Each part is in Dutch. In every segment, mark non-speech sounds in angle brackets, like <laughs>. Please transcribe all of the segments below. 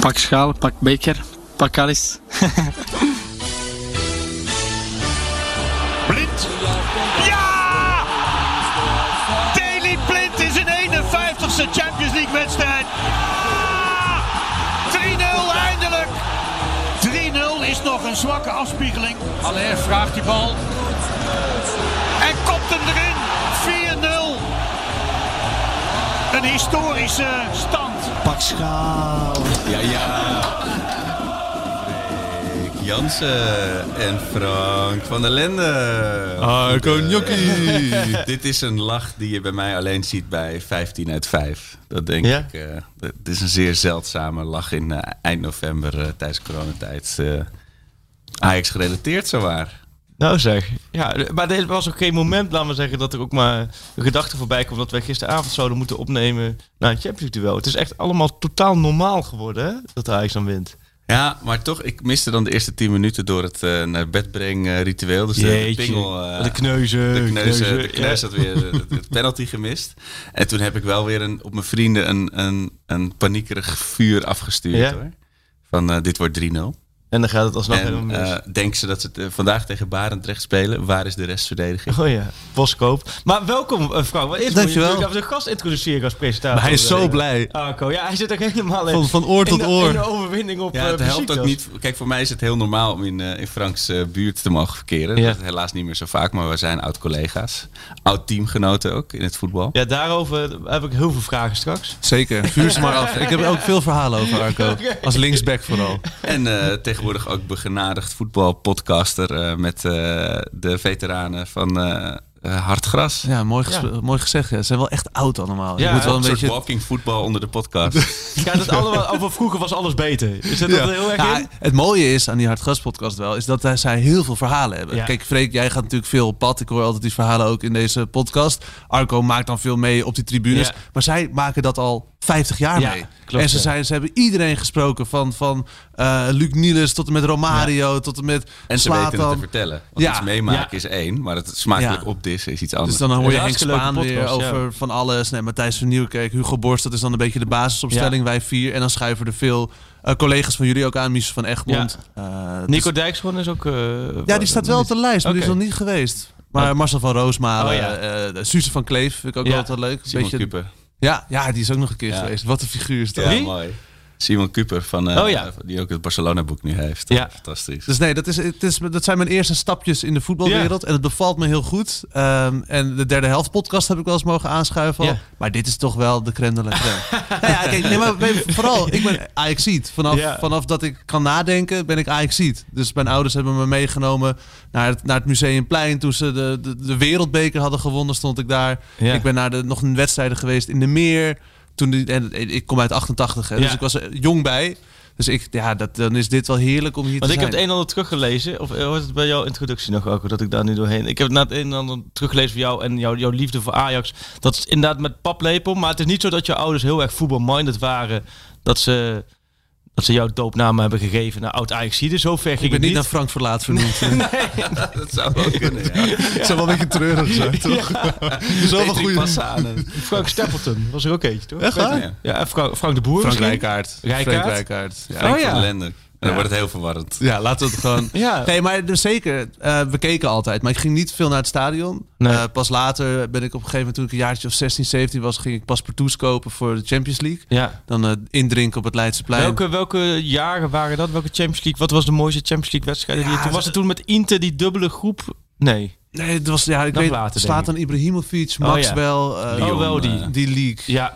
Pak schaal, pak beker, pak kalis. Blind. Ja! Daley Blind is in 51ste Champions League wedstrijd. Ja! 3-0 eindelijk. 3-0 is nog een zwakke afspiegeling. Allaire vraagt die bal. En kopt hem erin. 4-0. Een historische stand. Pak schaal. Ja, ja. Freek Jansen en Frank van der Lende. eh, Ah, konjakkie. <laughs> Dit is een lach die je bij mij alleen ziet bij 15 uit 5. Dat denk Ja? ik. eh, dat is een zeer zeldzame lach in eh, eind november eh, tijdens coronatijd. eh, Ajax gerelateerd zowaar. Nou zeg. Ja, d- maar dit was ook geen moment, laten we zeggen, dat er ook maar een gedachte voorbij komt dat wij gisteravond zouden moeten opnemen naar een Champions League duel. Het is echt allemaal totaal normaal geworden, hè, dat Ajax dan wint. Ja, maar toch, ik miste dan de eerste 10 minuten door het eh, naar bed brengen eh, ritueel. Dus de- de pingel. eh, de kneuzen. de kneus, eh, de kneuzen, kneus ja. had weer de, de- de penalty gemist. En toen heb ik wel weer een, op mijn vrienden een, een, een paniekerig vuur afgestuurd. Ja. Hoor. Van eh, dit wordt 3-0. En dan gaat het alsnog helemaal en mis. eh denken ze dat ze het, eh, vandaag tegen Barendrecht spelen? Waar is de <laughs> restverdediging? Oh ja, boskoop. Maar welkom, eh, Frank. Wat is Dankjewel. Ik de gast introduceren als presentator. hij is zo eh, blij. Arco. Ja, hij zit ook helemaal in. Van- van oor in tot de- oor. In de overwinning op Ja, eh, het helpt ook Beşiktaş. niet. Kijk, voor mij is het heel normaal om in, eh, in Franks eh, buurt te mogen verkeren. Ja. Dat is helaas niet meer zo vaak, maar we zijn oud-collega's. Oud-teamgenoten ook in het voetbal. Ja, daarover heb ik heel veel vragen straks. Zeker, vuur ze maar af. Ik heb er ook veel verhalen <laughs> over Arco. Als linksback vooral. <laughs> En eh, tegenwoordig ook begenadigd voetbalpodcaster eh, met eh, de veteranen van eh eh, Hard Gras. Ja, mooi, gespe- mooi gezegd. Ja. Ze zijn wel echt oud allemaal. Ja, je moet wel een een soort beetje... walking voetbal onder de <laughs> podcast. Ja, dat allemaal, over vroeger was alles beter. Is dat, Ja. dat heel erg Ja, in? Nou, het mooie is aan die Hartgras podcast wel, is dat zij heel veel verhalen hebben. Ja. Kijk, Freek, jij gaat natuurlijk veel op pad. Ik hoor altijd die verhalen ook in deze podcast. Arco maakt dan veel mee op die tribunes. Ja. Maar zij maken dat al 50 jaar Ja, mee. klopt, en ze, ja. zijn, ze hebben iedereen gesproken van, van eh, Luc Niels tot en met Romario, tot en met en ze weten het te Zlatan. vertellen. Want Ja. iets meemaken Ja. is één, maar het smakelijk Ja. opdissen is iets anders. Dus dan hoor je Ja, Henk hartstikke leuke Spaan weer podcast, ja. over van alles. Nee, Matthijs van Nieuwkerk, Hugo Borst, dat is dan een beetje de basisopstelling. Wij vier. En dan schuiven er veel eh, collega's van jullie ook aan. Mies van Egmond. Eh, dus- Nico Dijkshoorn is ook... eh, Ja, die staat wel op de lijst, maar die is Oké. nog niet geweest. Maar Marcel van Roosmalen, Oh, eh ja. eh, Suze van Kleef vind ik ook Ja. altijd leuk. Een Simon beetje- Kuper. ja, ja, die is ook nog een keer Ja. geweest. Wat een figuur is dat. Ja, Wie? mooi. Simon Kuper, van, eh, Oh, ja. die ook het Barcelona-boek nu heeft. Ja. Fantastisch. Dus nee, dat, is, het is, dat zijn mijn eerste stapjes in de voetbalwereld. En het bevalt me heel goed. Ehm, en de derde helft podcast heb ik wel eens mogen aanschuiven. al. Ja. Maar dit is toch wel de crème de la <laughs> crème. nou ja, kijk, nee, maar weet je, vooral, ik ben Ajaxiet. Vanaf, Ja. vanaf dat ik kan nadenken, ben ik Ajaxiet. Dus mijn ouders hebben me meegenomen naar het, naar het Museumplein. Toen ze de, de, de wereldbeker hadden gewonnen, stond ik daar. Ja. Ik ben naar de, nog een wedstrijden geweest in de meer. Toen die, en ik kom uit 88, hè, Ja. dus ik was er jong bij. Dus ik, ja, dat, dan is dit wel heerlijk om hier Want te ik zijn. heb het een en ander teruggelezen. Of eh, hoort het bij jouw introductie nog ook? Dat ik daar nu doorheen. Ik heb na het een en ander teruggelezen van jou en jouw, jouw liefde voor Ajax. Dat is inderdaad met paplepel. Maar het is niet zo dat je ouders heel erg voetbalminded waren. Dat ze, dat ze jouw doopnaam hebben gegeven naar oud Ajaxide. Zo ver ging Ik ben het niet naar Frank Verlaat vernoemd. Dat zou wel kunnen, ja. Het zou wel een beetje treurig <laughs> zijn, toch? Zoveel Petri goede... Passanen. Frank Stapleton was er ook eentje, toch? Echt waar? Ja. Ja, en Frank, Frank de Boer Frank misschien? Rijkaard. Rijkaard? Frank Rijkaard. Oh Ja. Frank Oh, ja. van Lende. En dan wordt het heel verwarrend. Ja, laten we het gewoon... Ja. Nee, maar dus zeker. eh, we keken altijd. Maar ik ging niet veel naar het stadion. Nee. Eh, pas later ben ik op een gegeven moment... toen ik een jaartje of 16, 17 was... ging ik paspartouts kopen voor de Champions League. Ja. Dan eh, indrinken op het Leidseplein. Welke, welke jaren waren dat? Welke Champions League? Wat was de mooiste Champions League wedstrijd? die je Ja, toen, was het toen met Inter die dubbele groep? Nee. Nee, het was... Ja, ik Dag weet... later, denk Slatan Ibrahimovic, Maxwell... eh, Lyon, oh, wel die. eh, die league. Ja.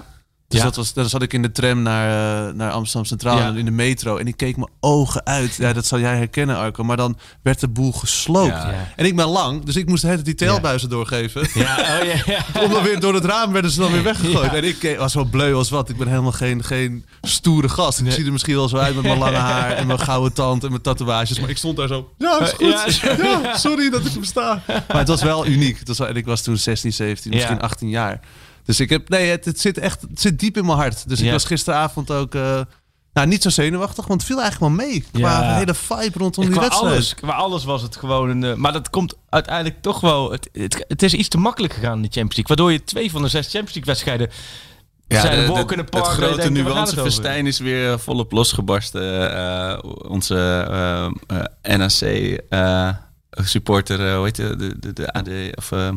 Dus Ja. dat was, dan zat ik in de tram naar, eh, naar Amsterdam Centraal Ja. en in de metro. En ik keek mijn ogen uit. Ja, dat zal jij herkennen, Arco. Maar dan werd de boel gesloopt. Ja. Ja. En ik ben lang, dus ik moest de hele tijd die telbuizen doorgeven. Ja, oh ja, ja. <laughs> Om dan weer door het raam werden ze dan weer weggegooid. En ik keek- was wel bleu als wat. Ik ben helemaal geen, geen stoere gast. Ik zie er misschien wel zo uit <laughs> met mijn lange haar en mijn gouden tand en mijn tatoeages. Maar ik stond daar zo. Ja, is Ja, goed. <laughs> Ja, sorry dat ik besta. Maar het was wel uniek. Het was wel- en ik was toen 16, 17, misschien Ja. 18 jaar. Dus ik heb. Nee, het, het zit echt. Het zit diep in mijn hart. Dus ik Ja. was gisteravond ook. eh, nou, niet zo zenuwachtig, want het viel eigenlijk wel mee. Qua Ja. hele vibe rondom die qua wedstrijd. alles, qua alles was het gewoon een... eh, maar dat komt uiteindelijk toch wel... Het, het, het is iets te makkelijk gegaan in de Champions League. Waardoor je twee van de zes Champions League wedstrijden zijn de- de, de- walk in the park. Het dat je grote denkt, waar gaat het over? nuancefestijn is weer eh, volop losgebarsten. Eh, eh, onze eh, eh, NAC eh, supporter, eh, hoe heet de, de, de, de AD, of eh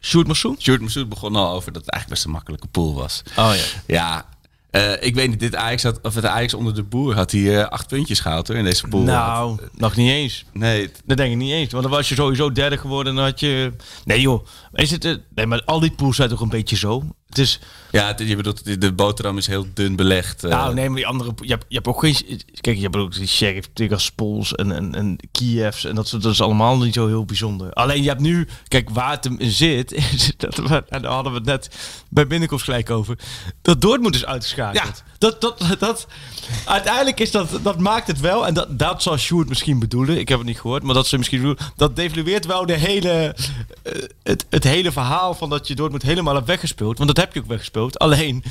Sjoerd Massoen? Stuart Massoud begon al over dat het eigenlijk best een makkelijke pool was. Oh ja. Ja, eh, ik weet niet, dit Ajax had, of het Ajax onder de boer had hij eh, acht puntjes gehaald hoor, in deze pool. Nou, nog niet eens. Nee, het- Dat denk ik niet eens. Want dan was je sowieso derde geworden. Dan had je... Nee joh. Is het, eh, nee, maar al die pools zijn toch een beetje zo? Het is... ja, het- je bedoelt, de- de boterham is heel dun belegd. eh. Nou, nee, maar die andere... Je hebt, je hebt ook geen... Kijk, je hebt ook die Sheriff, Tiggerspools en, en, en Kievs en dat soort... Dat is allemaal niet zo heel bijzonder. Alleen je hebt nu... Kijk, waar het hem in zit... <laughs> Is dat we, en daar hadden we het net bij binnenkomst gelijk over. Dat Dortmund is uitgeschakeld. Dat, dat, dat, uiteindelijk is dat... Dat maakt het wel... En dat, dat zal Sjoerd misschien bedoelen. Ik heb het niet gehoord, maar dat ze misschien bedoelen. Dat devalueert wel de hele... eh, het, het hele verhaal van dat je Dortmund helemaal hebt weggespeeld. Want dat heb je ook weggespeeld. Alleen...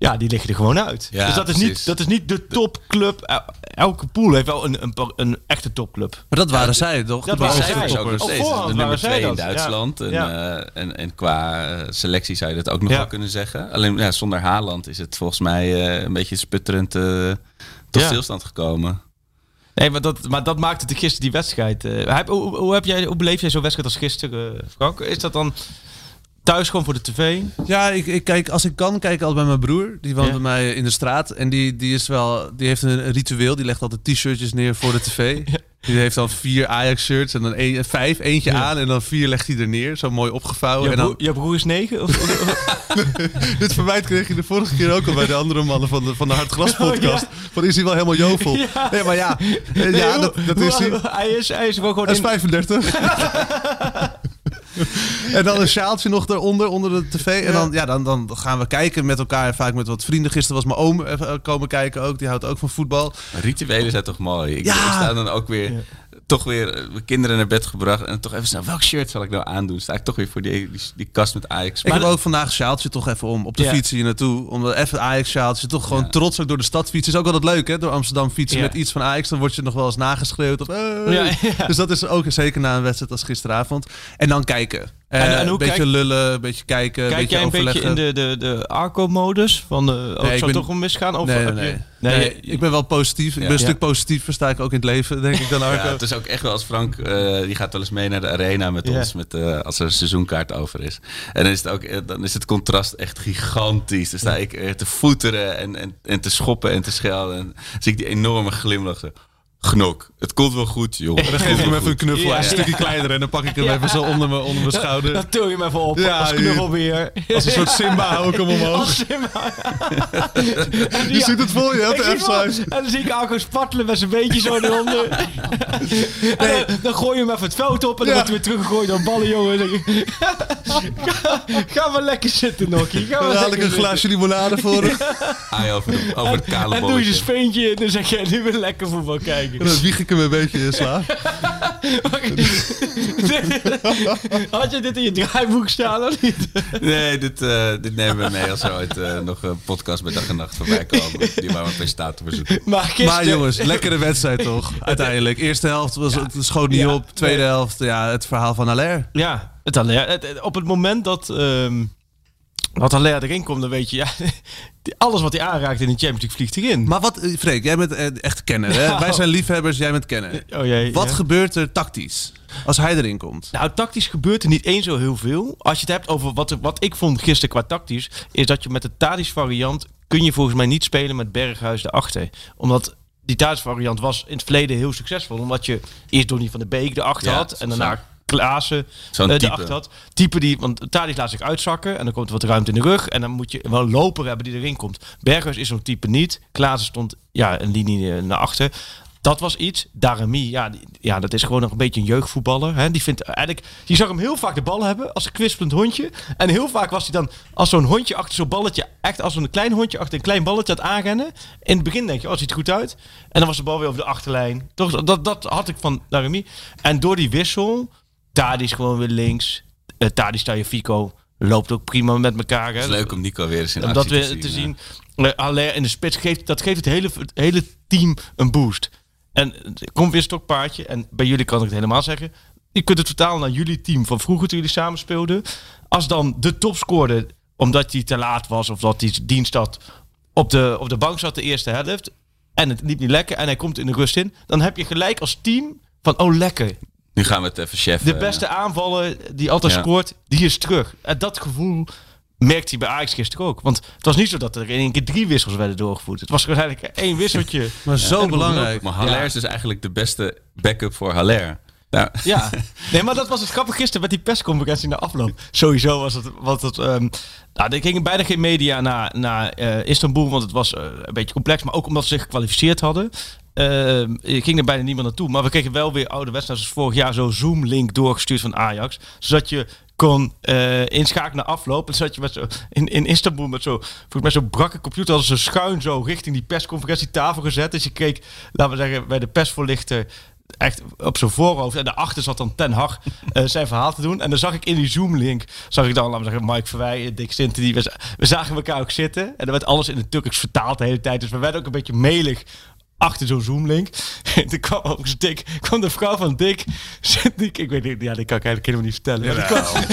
Ja, die liggen er gewoon uit. Ja, dus dat is, precies. niet, dat is niet de topclub. El- Elke pool heeft wel een, een, pa- een echte topclub. Maar dat waren zij toch? dat De waren zij. cijfers ook nog toppers. Op steeds. voorhand de waren nummer zij 2 in dat, ja. Duitsland. En, Ja. eh, en, en qua eh, selectie zou je dat ook nog Ja. wel kunnen zeggen. Alleen ja, zonder Haaland is het volgens mij eh, een beetje sputterend eh, tot Ja. stilstand gekomen. Nee, maar dat, maar dat maakte de gisteren die wedstrijd. eh, hij- hoe, hoe- hoe heb jij, hoe beleef jij zo'n wedstrijd als gisteren, eh, Frank? Is dat dan thuis gewoon voor de Oh, tv? Ja, ik, ik kijk, als ik kan, kijk ik altijd bij mijn broer. Die woont Ja. bij mij in de straat. En die, die, is wel, die heeft een ritueel. Die legt altijd t-shirtjes neer voor de <laughs> tv. Die heeft dan vier Ajax-shirts en dan een, vijf. Eentje Ja. aan en dan vier legt hij er neer. Zo mooi opgevouwen. Je, en broer, dan, je broer is negen? <laughs> Of, dit verwijt kreeg je de vorige keer ook al bij de andere mannen van de, van de <laughs> Hartgras podcast. Van is hij wel helemaal jovel? Ja. Nee, maar ja. eh, Nee, ja, hoe- dat, dat hoe- is hij. hij is. Hij is wel gewoon Dat is in- 35. <laughs> en dan een sjaaltje nog daaronder, onder de tv. En dan, ja, dan, dan gaan we kijken met elkaar, vaak met wat vrienden. Gisteren was mijn oom even, eh, komen kijken ook, die houdt ook van voetbal. Rituelen zijn toch mooi. Ik Ja. ik sta dan ook weer, toch weer eh, mijn kinderen naar bed gebracht. En toch even snel, welk shirt zal ik nou aandoen? Sta ik toch weer voor die, die, die kast met Ajax. Ik Maar heb ook vandaag een sjaaltje toch even om, op de Ja. fiets hier naartoe. Om even Ajax sjaaltje, toch gewoon trots ook door de stad fietsen. Is ook altijd leuk hè, door Amsterdam fietsen Ja. met iets van Ajax. Dan word je nog wel eens nageschreeuwd. Of, eh. Ja, ja. Dus dat is ook zeker na een wedstrijd als gisteravond. En dan kijken. Eh, En- en hoe een beetje kijk- lullen, een beetje kijken, een Kijk beetje jij een beetje overleggen. in de, de, de Arco-modus? Van de, oh, Nee, het ik zou ben- toch wel misgaan? Of Nee, nee, heb nee. je- Nee, Nee, je- ik ben wel positief. Ik ben een Ja. stuk positiever, sta ik ook in het leven, denk ik dan, ja, Arco. het is ook echt wel als Frank, eh, die gaat wel eens mee naar de arena met Ja. ons, met, eh, als er een seizoenkaart over is. En dan is het, ook, eh, dan is het contrast echt gigantisch. Dan sta ik eh, te voeteren en, en, en te schoppen en te schelden. En dan zie ik die enorme glimlach. zo, Gnok, het komt wel goed, joh. Dan geef ik hem even een knuffel. Ja. Hij is een stukje kleiner en dan pak ik hem even zo onder mijn, onder mijn schouder. Dan til je hem even op Ja, als knuffelbeer. Als een soort Simba hou ik hem omhoog. <laughs> Als Simba. En <laughs> Je ja, ziet het voor je, hè, op ik de zie wel- F-site. En dan zie ik Arco spartelen met zijn beetje zo <laughs> eronder. En dan, dan gooi je hem even het veld op en dan Ja. wordt hij weer teruggegooid door ballen, jongen. Dan denk ik, <laughs> ga, ga maar lekker zitten, Nokkie. Ga maar Dan haal ik lekker een zitten. glaasje limonade voor hem. Ai, over, de- over het kale En doe je bolletje. zijn speentje in en dan zeg jij, nu weer lekker voetbal kijken. En dan wieg ik hem een beetje in slaap. <laughs> Had je dit in je draaiboek staan of niet? Nee, dit, eh, dit nemen we mee als er ooit eh, nog een podcast bij dag en nacht voorbij komen. Die waar we een presentator voor zoeken. Maar gisteren... Maar jongens, lekkere wedstrijd toch, uiteindelijk. Eerste helft was, het schoot niet Ja. op. Tweede helft, ja, het verhaal van Allaire. Ja, het alert. Het- het- op het moment dat, ehm dat alert erin komt, dan weet je, ja, <laughs> die- alles wat hij aanraakt in de Champions League vliegt erin. Maar wat, eh, Freek, jij bent eh, echt kenner hè? Nou. Wij zijn liefhebbers, jij bent kenner. oh, jee, Wat ja. gebeurt er tactisch als hij erin komt? Nou, tactisch gebeurt er niet eens zo heel veel. Als je het hebt over wat, wat ik vond gisteren qua tactisch, is dat je met de Tadisch variant kun je volgens mij niet spelen met Berghuis erachter. Omdat die Tadisch variant was in het verleden heel succesvol. Omdat je eerst Donny van de Beek erachter Ja, had en zo'n- daarna Klaassen zo'n eh, type. erachter had. Type die, want Tadisch laat zich uitzakken en dan komt er wat ruimte in de rug. En dan moet je wel een loper hebben die erin komt. Berghuis is zo'n type niet. Klaassen stond ja, een linie eh, naar achter. Dat was iets. Darami, ja, die- ja, dat is gewoon nog een beetje een jeugdvoetballer. Hè. Die vindt eigenlijk, je zag hem heel vaak de bal hebben als een kwispelend hondje. En heel vaak was hij dan als zo'n hondje achter zo'n balletje, echt als een klein hondje achter een klein balletje aan het aanrennen. In het begin denk je, oh, ziet er goed uit. En dan was de bal weer over de achterlijn. Toch, dat, dat had ik van Darami. En door die wissel, Tadi is gewoon weer links. Eh Tadi Fico loopt ook prima met elkaar. Hè. Het is leuk om Nico weer eens in Om actie dat te weer zien. te hè. zien. Eh, Haller in de spits geeft, dat geeft het hele, het hele team een boost. En er komt weer stokpaardje. En bij jullie kan ik het helemaal zeggen. Je kunt het vertalen naar jullie team van vroeger toen jullie samen speelden. Als dan de topscorer omdat hij te laat was of dat hij dienst had op de, op de bank zat de eerste helft en het liep niet lekker en hij komt in de rust in, dan heb je gelijk als team van oh lekker. Nu gaan we het even cheffen. De beste aanvaller die altijd Ja. scoort, die is terug. En dat gevoel merkt hij bij Ajax gisteren ook. Want het was niet zo dat er in één keer drie wissels werden doorgevoerd. Het was waarschijnlijk één <laughs> wisseltje. Maar zo belangrijk. Maar Haller is dus eigenlijk de beste backup voor Haller. Nou, Ja, <laughs> nee, maar dat was het grappig gisteren met die persconferentie na afloop. Sowieso was het, want het, ehm, nou, er gingen bijna geen media naar, naar eh, Istanbul, want het was eh, een beetje complex. Maar ook omdat ze zich gekwalificeerd hadden, ehm, eh, ging er bijna niemand naartoe. Maar we kregen wel weer oude wedstrijden, zoals vorig jaar zo'n Zoom-link doorgestuurd van Ajax. Zodat je kon eh, inschakelen naar afloop. En zat je met zo, in, in Istanbul met zo, volgens mij zo'n brakke computer. Hadden ze schuin zo richting die persconferentietafel gezet. Dus je keek, laten we zeggen, bij de persvoorlichter echt op zijn voorhoofd. En daarachter zat dan Ten Hag eh, zijn verhaal te doen. En dan zag ik in die Zoom-link, zag ik dan, laten we zeggen, Mike Verwij, Dick Sinten. Die, we, za- we zagen elkaar ook zitten. En er werd alles in het Turks vertaald de hele tijd. Dus we werden ook een beetje melig achter zo'n Zoom-link. <laughs> En toen kwam ook Dick, kwam de vrouw van Dick. <laughs> Die, ik weet niet, ja, die kan ik eigenlijk helemaal niet vertellen. maar die, kwam,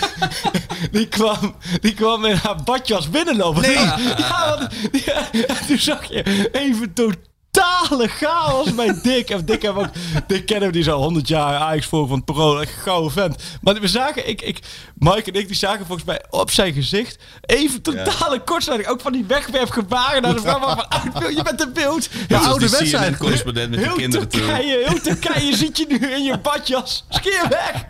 die, kwam, die kwam in haar badjas binnenlopen. Ja, want- ja, en toen zag je even totale chaos bij Dick. En Dick hebben we ook, Dick kennen we, die is al 100 jaar Ajax voor van het parool. Echt een gouden vent. Maar we zagen, ik, ik, Mike en ik, die zagen volgens mij op zijn gezicht even totale kortsluiting. Ook van die wegwerpgebaren naar de vrouw van, "Uit, je bent een beeld. Ja, zoals oude die wedstrijd. CNN-correspondent met de Heel kinderen toen. Turkije, heel <laughs> Turkije zit je nu in je badjas. Scheer weg.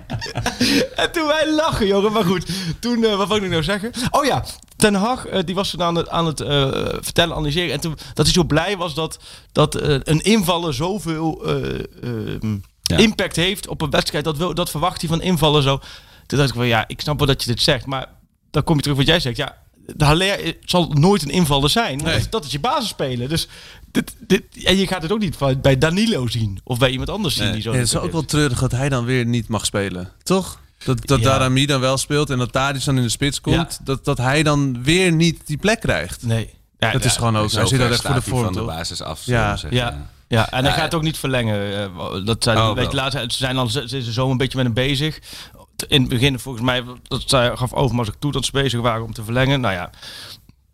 <laughs> en toen wij lachen, jongen. Maar goed, toen, eh, wat wil ik nou zeggen? Oh ja, Ten Hag, eh, die was toen aan het, aan het eh, vertellen, analyseren. En toen, dat hij zo blij was dat, dat eh, een invaller zoveel eh, ehm, Ja. impact heeft op een wedstrijd. Dat, wil, dat verwacht hij van invallen zo. Toen dacht ik van, ja, ik snap wel dat je dit zegt. Maar dan kom je terug wat jij zegt. Ja, de Haller eh, zal nooit een invaller zijn. want Dat, dat is je basisspeler. Dus dit, dit, en je gaat het ook niet van- bij Danilo zien. Of bij iemand anders zien. Nee. Die zo Ja, het is ook wel treurig dat hij dan weer niet mag spelen. Toch? Dat, dat Ja. Darami dan wel speelt en dat Tadic dan in de spits komt. Ja. Dat, dat hij dan weer niet die plek krijgt. Nee. Ja, dat ja. is gewoon ook zo. Hij zit ver daar echt voor de staat hij vorm, van de toch? basis af. Ja. zullen we zeggen. Ja. Ja, en hij gaat het ook niet verlengen. eh, wa- Dat zijn, Oh, een beetje wel. later, ze zijn al ze ze zo een beetje met hem bezig. In het begin volgens mij, dat zei- gaf Overmars ook toe dat ze bezig waren om te verlengen. Nou ja,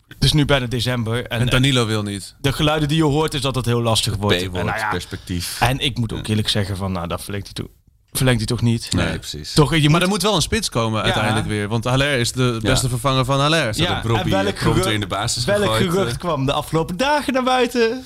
het is nu bijna december. En, eh, En Danilo wil niet. de geluiden die je hoort is dat het heel lastig wordt. En, B-woord, nou ja, perspectief. en ik moet ook eerlijk zeggen van, nou, dat verlengt hij, toch- verlengt hij toch niet. Nee, precies. Toch, je Maar moet er moet wel een spits komen uiteindelijk weer. Want Haller is de beste vervanger van Haller. Ja, dat Robbie en welk eh, prompt gerucht- in de basis Welk gegooid, gerucht eh. kwam de afgelopen dagen naar <laughs> buiten?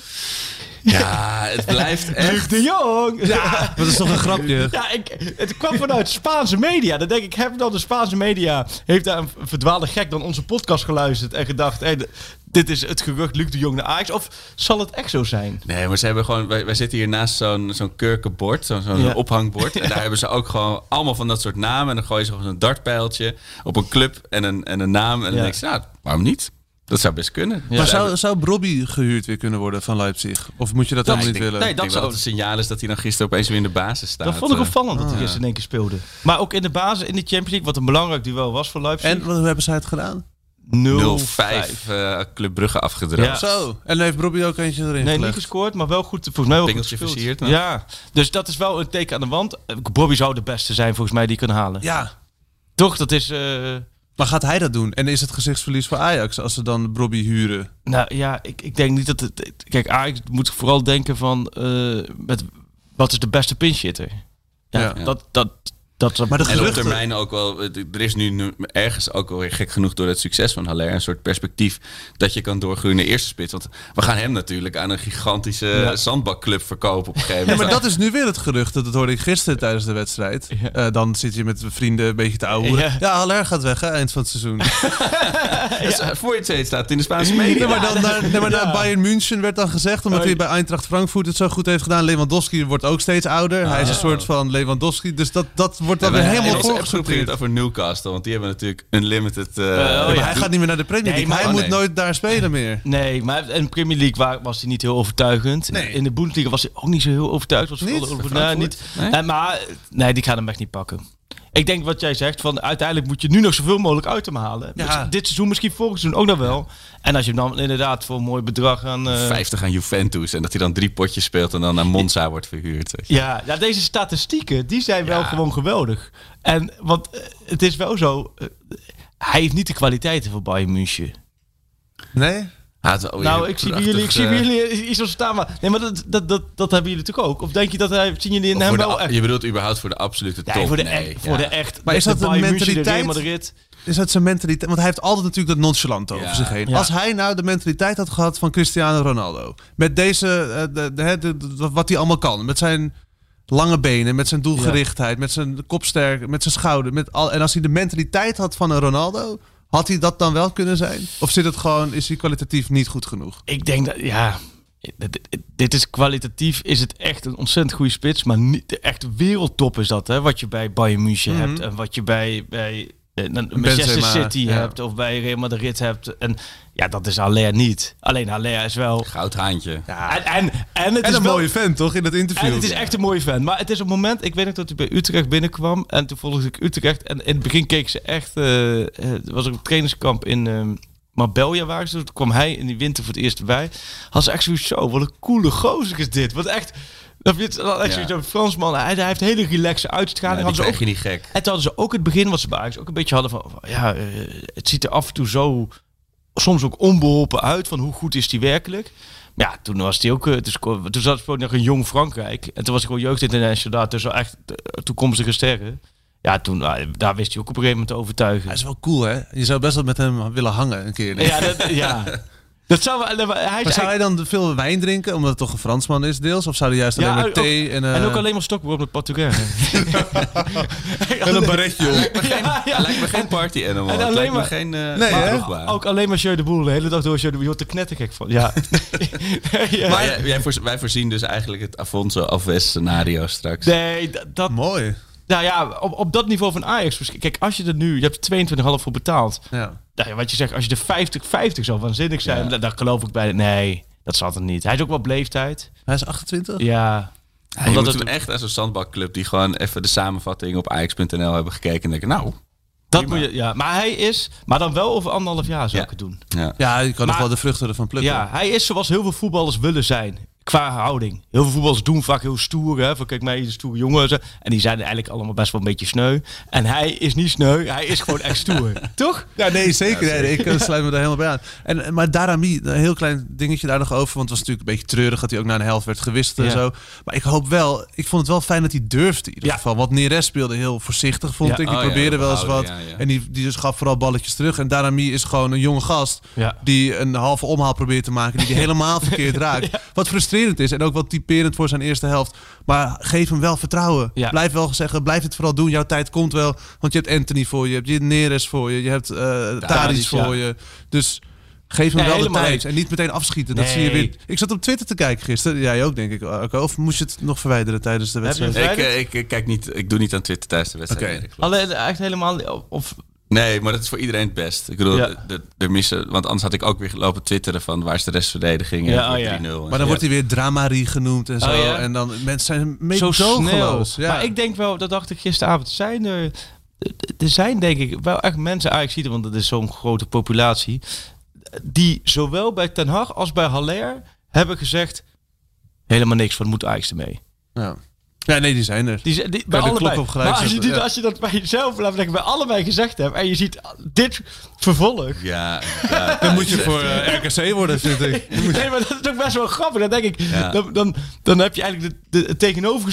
Ja, het blijft Luc echt... de Jong! <laughs> Ja, dat is toch een grapje. Ja, ik, het kwam vanuit Spaanse media. Dan denk ik, hebben dan de Spaanse media... Heeft daar een verdwaalde gek dan onze podcast geluisterd... en gedacht, hey, d- dit is het gerucht Luc de Jong naar Ajax? Of zal het echt zo zijn? Nee, maar ze hebben gewoon... Wij, wij zitten hier naast zo'n zo'n kurkenbord, zo'n zo'n Ja. ophangbord. En daar hebben ze ook gewoon allemaal van dat soort namen. En dan gooien ze gewoon zo'n dartpijltje op een club en een, en een naam. En Ja. dan denk je, nou, waarom niet? Dat zou best kunnen. Maar Ze hebben- zou, zou Brobby gehuurd weer kunnen worden van Leipzig? Of moet je dat Ik helemaal niet denk- willen? Nee, dat zou het signaal is dat hij dan gisteren opeens weer in de basis staat. Dat vond ik Eh, opvallend dat hij gisteren in één keer speelde. Maar ook in de basis in de Champions League... wat een belangrijk duel was voor Leipzig. En wat- hoe hebben zij het gedaan? 0-5 eh, Club Brugge afgedroogd. Ja. Zo. En heeft Brobby ook eentje erin Nee, niet gelegd. gescoord, maar wel goed. Volgens mij wel goed Pingeltje gespeeld. versierd, nou. Ja, dus dat is wel een teken aan de wand. Eh, Bobby zou de beste zijn volgens mij die kunnen halen. Ja. Toch, dat is... eh, Maar gaat hij dat doen? En is het gezichtsverlies voor Ajax als ze dan Brobby huren? Nou ja, ik, ik denk niet dat het. Kijk, Ajax moet vooral denken van. eh, met, wat is de beste pinchitter? Ja, Ja. Dat, dat, dat, dat. Maar de En op geruchten... termijn ook wel, eh, er is nu nu ergens ook wel weer gek genoeg door het succes van Haller een soort perspectief dat je kan doorgroeien naar eerste spits. Want we gaan hem natuurlijk aan een gigantische eh, Ja. zandbakclub verkopen op een gegeven Ja, moment. maar dat is nu weer het gerucht. Dat hoorde ik gisteren tijdens de wedstrijd. Ja. Eh, dan zit je met vrienden een beetje te ouwe. Ja. Ja, Haller gaat weg, hè, eind van <laughs> het seizoen. Dus, eh, voor je het steeds staat het in de Spaanse media. Nee, maar dan naar, nee, maar naar Bayern München werd dan gezegd, omdat Oh, hij bij Eintracht Frankfurt het zo goed heeft gedaan. Lewandowski wordt ook steeds ouder. hij Ah. is een soort van Lewandowski. Dus dat, dat wordt dan we weer hebben helemaal het voorgesorteerd. over Newcastle, want die hebben natuurlijk eh, een limited. oh ja. Maar hij gaat niet meer naar de Premier League. Nee, maar- hij oh, moet nee. nooit daar spelen meer. Nee, maar in de Premier League wa- was hij niet heel overtuigend. In de Bundesliga was hij ook niet zo heel overtuigd. Was Niet? veel Over, Bij nee, niet. Frankfurt? Nee? En maar nee, die gaan hem echt niet pakken. Ik denk wat jij zegt, van uiteindelijk moet je nu nog zoveel mogelijk uit hem halen. Ja. Dit seizoen, misschien volgend seizoen ook nog wel. En als je hem dan inderdaad voor een mooi bedrag aan... eh, 50 aan Juventus en dat hij dan drie potjes speelt en dan naar Monza wordt verhuurd. weet je. Ja, ja, deze statistieken, die zijn wel Ja. gewoon geweldig. En, want eh, het is wel zo... eh, hij heeft niet de kwaliteiten voor Bayern München. Nee? Hij had wel weer nou, een ik zie bij prachtig, jullie, ik zie bij eh, jullie iets op staan. Maar, nee, maar dat, dat, dat, dat hebben jullie natuurlijk ook. Of denk je dat hij, zien jullie in of hem voor de wel a- echt? je bedoelt überhaupt voor de absolute top? Ja, voor de, nee, echt, voor de ja. echt. Maar is de- dat de een Bayern München, de Real mentaliteit? Madrid. Is dat zijn mentaliteit? Want hij heeft altijd natuurlijk dat nonchalant over Ja. zich heen. Ja. Als hij nou de mentaliteit had gehad van Cristiano Ronaldo. Met deze, eh, de, de- hè, de- de- wat hij allemaal kan. Met zijn lange benen, met zijn doelgerichtheid, met zijn kopsterk, met zijn schouder. Met al, en als hij de mentaliteit had van een Ronaldo, had hij dat dan wel kunnen zijn? Of zit het gewoon, is hij kwalitatief niet goed genoeg? Ik denk dat, ja, dit, dit is kwalitatief, is het echt een ontzettend goede spits. Maar niet, de echt wereldtop is dat, hè. Wat je bij Bayern München Mhm. hebt en wat je bij, bij eh, Manchester Benzema, City ja. hebt of bij Real Madrid hebt. En ja, dat is Haller niet. Alleen Haller is wel... Goudhaantje. En, en, en het En is een wel- mooie vent, toch? In dat interview. En het is echt een mooie fan. Maar het is op het moment, ik weet nog dat hij bij Utrecht binnenkwam. En toen volgde ik Utrecht. En in het begin keek ze echt. eh, eh, Het was ook een trainingskamp in ehm Marbella waar ze. Toen kwam hij in die winter voor het eerst bij. Had ze echt zoiets zo. Wat een coole gozer is dit. Wat echt. Dat vind je echt Ja. zoiets van Fransman. Hij, hij heeft hele relaxe uitstraling. Nou, die Hadden krijg ze ook je niet gek. en toen hadden ze ook het begin, wat ze bij Ajax ook een beetje hadden van, van, ja, eh, het ziet er af en toe zo, soms ook onbeholpen uit van hoe goed is die werkelijk. Maar ja, toen was die ook, eh, dus, ko- toen zat ook nog een jong Frankrijk. En toen was ik gewoon jeugdinternational daar, dus wel echt eh, toekomstige sterren. Ja, toen, ah, daar wist hij ook op een gegeven moment te overtuigen. Hij is wel cool, hè? Je zou best wel met hem willen hangen een keer. Ja, <laughs> dat, ja. dat zou wel, eh, dat- hij Maar is zou hij eigenlijk- dan veel wijn drinken, omdat het toch een Fransman is deels? Of zou hij juist Ja, alleen maar ook- thee en... eh, en ook alleen maar stokbrood met <laughs> Portugaal. en een baretje <laughs> op? ja, ja. Lijkt me geen party animal. en Het alleen lijkt me maar- geen eh, Nee, hè? nee, Ook alleen maar Jeu de Boel, de hele dag door Jeu de Boel. Je wordt er knettergek van. <laughs> Ja. Ja. Maar jij, jij voorz- wij voorzien dus eigenlijk het Afonso Alves scenario straks. Nee, dat, dat- Mooi. nou ja, op, op dat niveau van Ajax. misschien- Kijk, als je er nu, je hebt er 22,5 voor betaald. Ja. Nou ja, wat je zegt, als je de 50, 50 zou waanzinnig zijn, dan dan geloof ik bij. Nee, dat zal het niet. Hij is ook wel bleeftijd. Hij is 28? Ja. Je Omdat moet het- hem echt aan zo'n zandbakclub die gewoon even de samenvatting op ajax.nl hebben gekeken en denken, nou, Dat moet je, ja. Maar hij is, maar dan wel over anderhalf jaar zou Ja. ik het doen. ja. Ja, je kan nog Maar- wel de vruchten ervan plukken. Ja, hij is zoals heel veel voetballers willen zijn. Qua houding. Heel veel voetballers doen vaak heel stoer. Hè? Van kijk mij, de stoere jongen. zo. En die zijn eigenlijk allemaal best wel een beetje sneu. En hij is niet sneu. Hij is gewoon echt stoer. <laughs> Toch? Ja, nee, zeker. Nee, nee, ik eh, sluit me daar helemaal bij aan. En, eh, maar Darami, een heel klein dingetje daar nog over. Want het was natuurlijk een beetje treurig dat hij ook na een helft werd gewist en Ja. zo. Maar ik hoop wel, ik vond het wel fijn dat hij durfde in ieder Ja. geval. Want Neres speelde heel voorzichtig, vond Ja. ik. Die Oh ja, probeerde wel eens wat. behouden, ja, ja. En die, die dus gaf vooral balletjes terug. En Darami is gewoon een jonge gast Ja. die een halve omhaal probeert te <laughs> maken. Die die helemaal verkeerd raakt. Wat frustrerend is en ook wel typerend voor zijn eerste helft. Maar geef hem wel vertrouwen. Ja. Blijf wel zeggen, blijf het vooral doen. Jouw tijd komt wel. Want je hebt Anthony voor je, je hebt Neres voor je, je hebt eh Tadic, Tadic voor ja. je. Dus geef hem Ja, wel de helemaal tijd eens. en niet meteen afschieten. Dat Nee. zie je weer. Ik zat op Twitter te kijken gisteren. Jij ook, denk ik. Arco. Of moest je het nog verwijderen tijdens de wedstrijd? hem Ik, eh, ik, eh, kijk niet, ik doe niet aan Twitter tijdens de wedstrijd. Oké. nee, dat klopt. Alleen echt helemaal. Of, Nee, maar dat is voor iedereen het best. Ik bedoel, Ja. de- de- de missen, want anders had ik ook weer lopen twitteren van waar is de restverdediging en Ja, voor oh ja. 3-0. en Maar zo. dan wordt hij weer Dramarie genoemd en zo. Oh, ja. En dan mensen zijn mee zo snel. Ja. Maar ik denk wel, dat dacht ik gisteravond, zijn er, er zijn denk ik wel echt mensen, eigenlijk ziet want dat is zo'n grote populatie, die zowel bij Ten Hag als bij Haller hebben gezegd, helemaal niks, wat moet Ajax ermee? ja. ja, nee, die zijn er. Die, z- die, bij de klok allebei. op gelijk maar als je, zetten, dit, ja. als je dat bij jezelf, laat zeggen, bij allebei gezegd hebt, en je ziet dit vervolg, <laughs> Ja, ja. Dan moet je voor eh, RKC worden, vind <laughs> ik. Nee, maar dat is ook best wel grappig. Dan denk ik, Ja. dan, dan, dan heb je eigenlijk de, de, het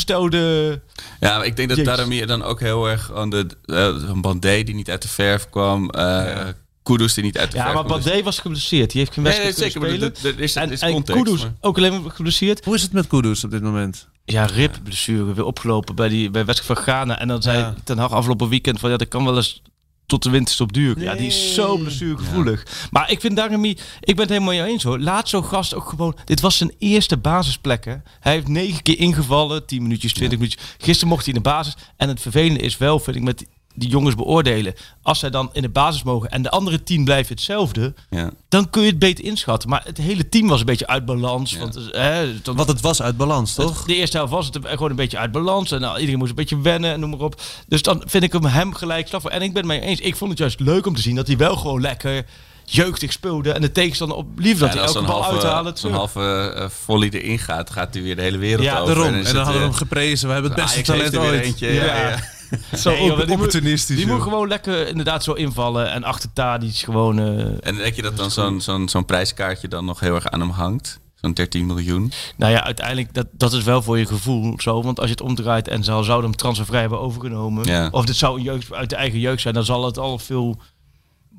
tegenovergestelde... Ja, maar ik denk dat Jezus. daarom hier dan ook heel erg aan de eh, een Bandé die niet uit de verf kwam, eh Kudus die niet uit de Ja, verf maar kwam. Dus- Bandé was geblesseerd. Die heeft geen Nee, nee, wedstrijd zeker. kunnen Maar er spelen. er- er is, er En, is en context. Kudus maar- ook alleen maar geblesseerd. Hoe is het met Kudus op dit moment? Ja, ribblessure weer opgelopen bij die bij wedstrijd van Ghana. En dan zei Ja. Ten Hag afgelopen weekend van ja, dat kan wel eens tot de winterstop duren. Ja, die is zo blessuregevoelig. Maar ik vind daarom niet- ik ben het helemaal mee eens hoor. Laat zo'n gast ook gewoon. Dit was zijn eerste basisplek. Hè. Hij heeft negen keer ingevallen, 10 minuutjes, 20 minuutjes. Gisteren mocht hij in de basis. En het vervelende is wel, vind ik, met die- die jongens beoordelen. Als zij dan in de basis mogen en de andere tien blijven hetzelfde, Ja. dan kun je het beter inschatten. Maar het hele team was een beetje uit balans. Want, eh, hè, dan- Want het was uit balans, toch? de eerste helft was het gewoon een beetje uit balans. En nou, iedereen moest een beetje wennen en noem maar op. Dus dan vind ik hem, hem gelijk slaf. En ik ben het mee eens. Ik vond het juist leuk om te zien dat hij wel gewoon lekker jeugdig speelde. En de tegenstander op lief dat Ja, en hij als elke zo'n bal uithalen. halve, zo'n terug. halve eh, volley erin gaat, gaat hij weer de hele wereld Ja, over. Daarom. is En dan het, hadden we eh, hem geprezen. We hebben het beste Ajax heeft talent er weer ooit. eentje. Ja. Ja, ja. <laughs> Zo Nee, joh, die moet- opportunistisch, Die joh. moet gewoon lekker inderdaad zo invallen. En achter Tadic gewoon... eh, En denk je dat dan zo'n zo'n zo'n prijskaartje dan nog heel erg aan hem hangt? Zo'n 13 miljoen. nou ja, uiteindelijk, dat, dat is wel voor je gevoel zo. Want als je het omdraait en ze al zouden hem transfervrij hebben overgenomen... Ja. Of dit zou een jeugd, uit de eigen jeugd zijn, dan zal het al veel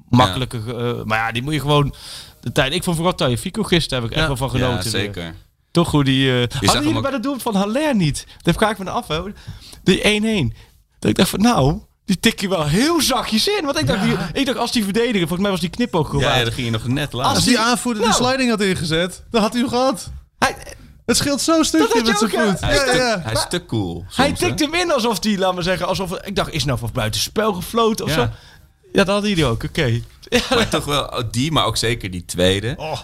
makkelijker... eh, maar ja, die moet je gewoon... De tijd. Ik vond vooral Taje Fico gisteren, heb ik echt wel van genoten. Ja, weer. zeker. Toch hoe die... eh zag hadden hem jullie ook- bij de doel van Haller niet? Dat vraag ik me af, hè. Die 1-1. Dat ik dacht van, nou... Die tik je wel heel zachtjes in. Want ik dacht, die- ik dacht als die verdediger... Volgens mij was die knip ook Ja, gewaard. ja, dat ging je nog net Als laat. Als die aanvoerder de Nou. sliding had ingezet, dan had hij hem gehad. Hij, Het scheelt zo'n had stukje je met zijn ook, ja. voet. Hij is, Ja, te, ja. hij is te cool. hij soms, hè? tikte hem in alsof die, laat maar zeggen... Alsof, ik dacht, is nou van buitenspel gefloten of Ja. zo? Ja, dat hadden jullie ook. Oké. Maar toch wel oh, die, maar ook zeker die tweede. Oh.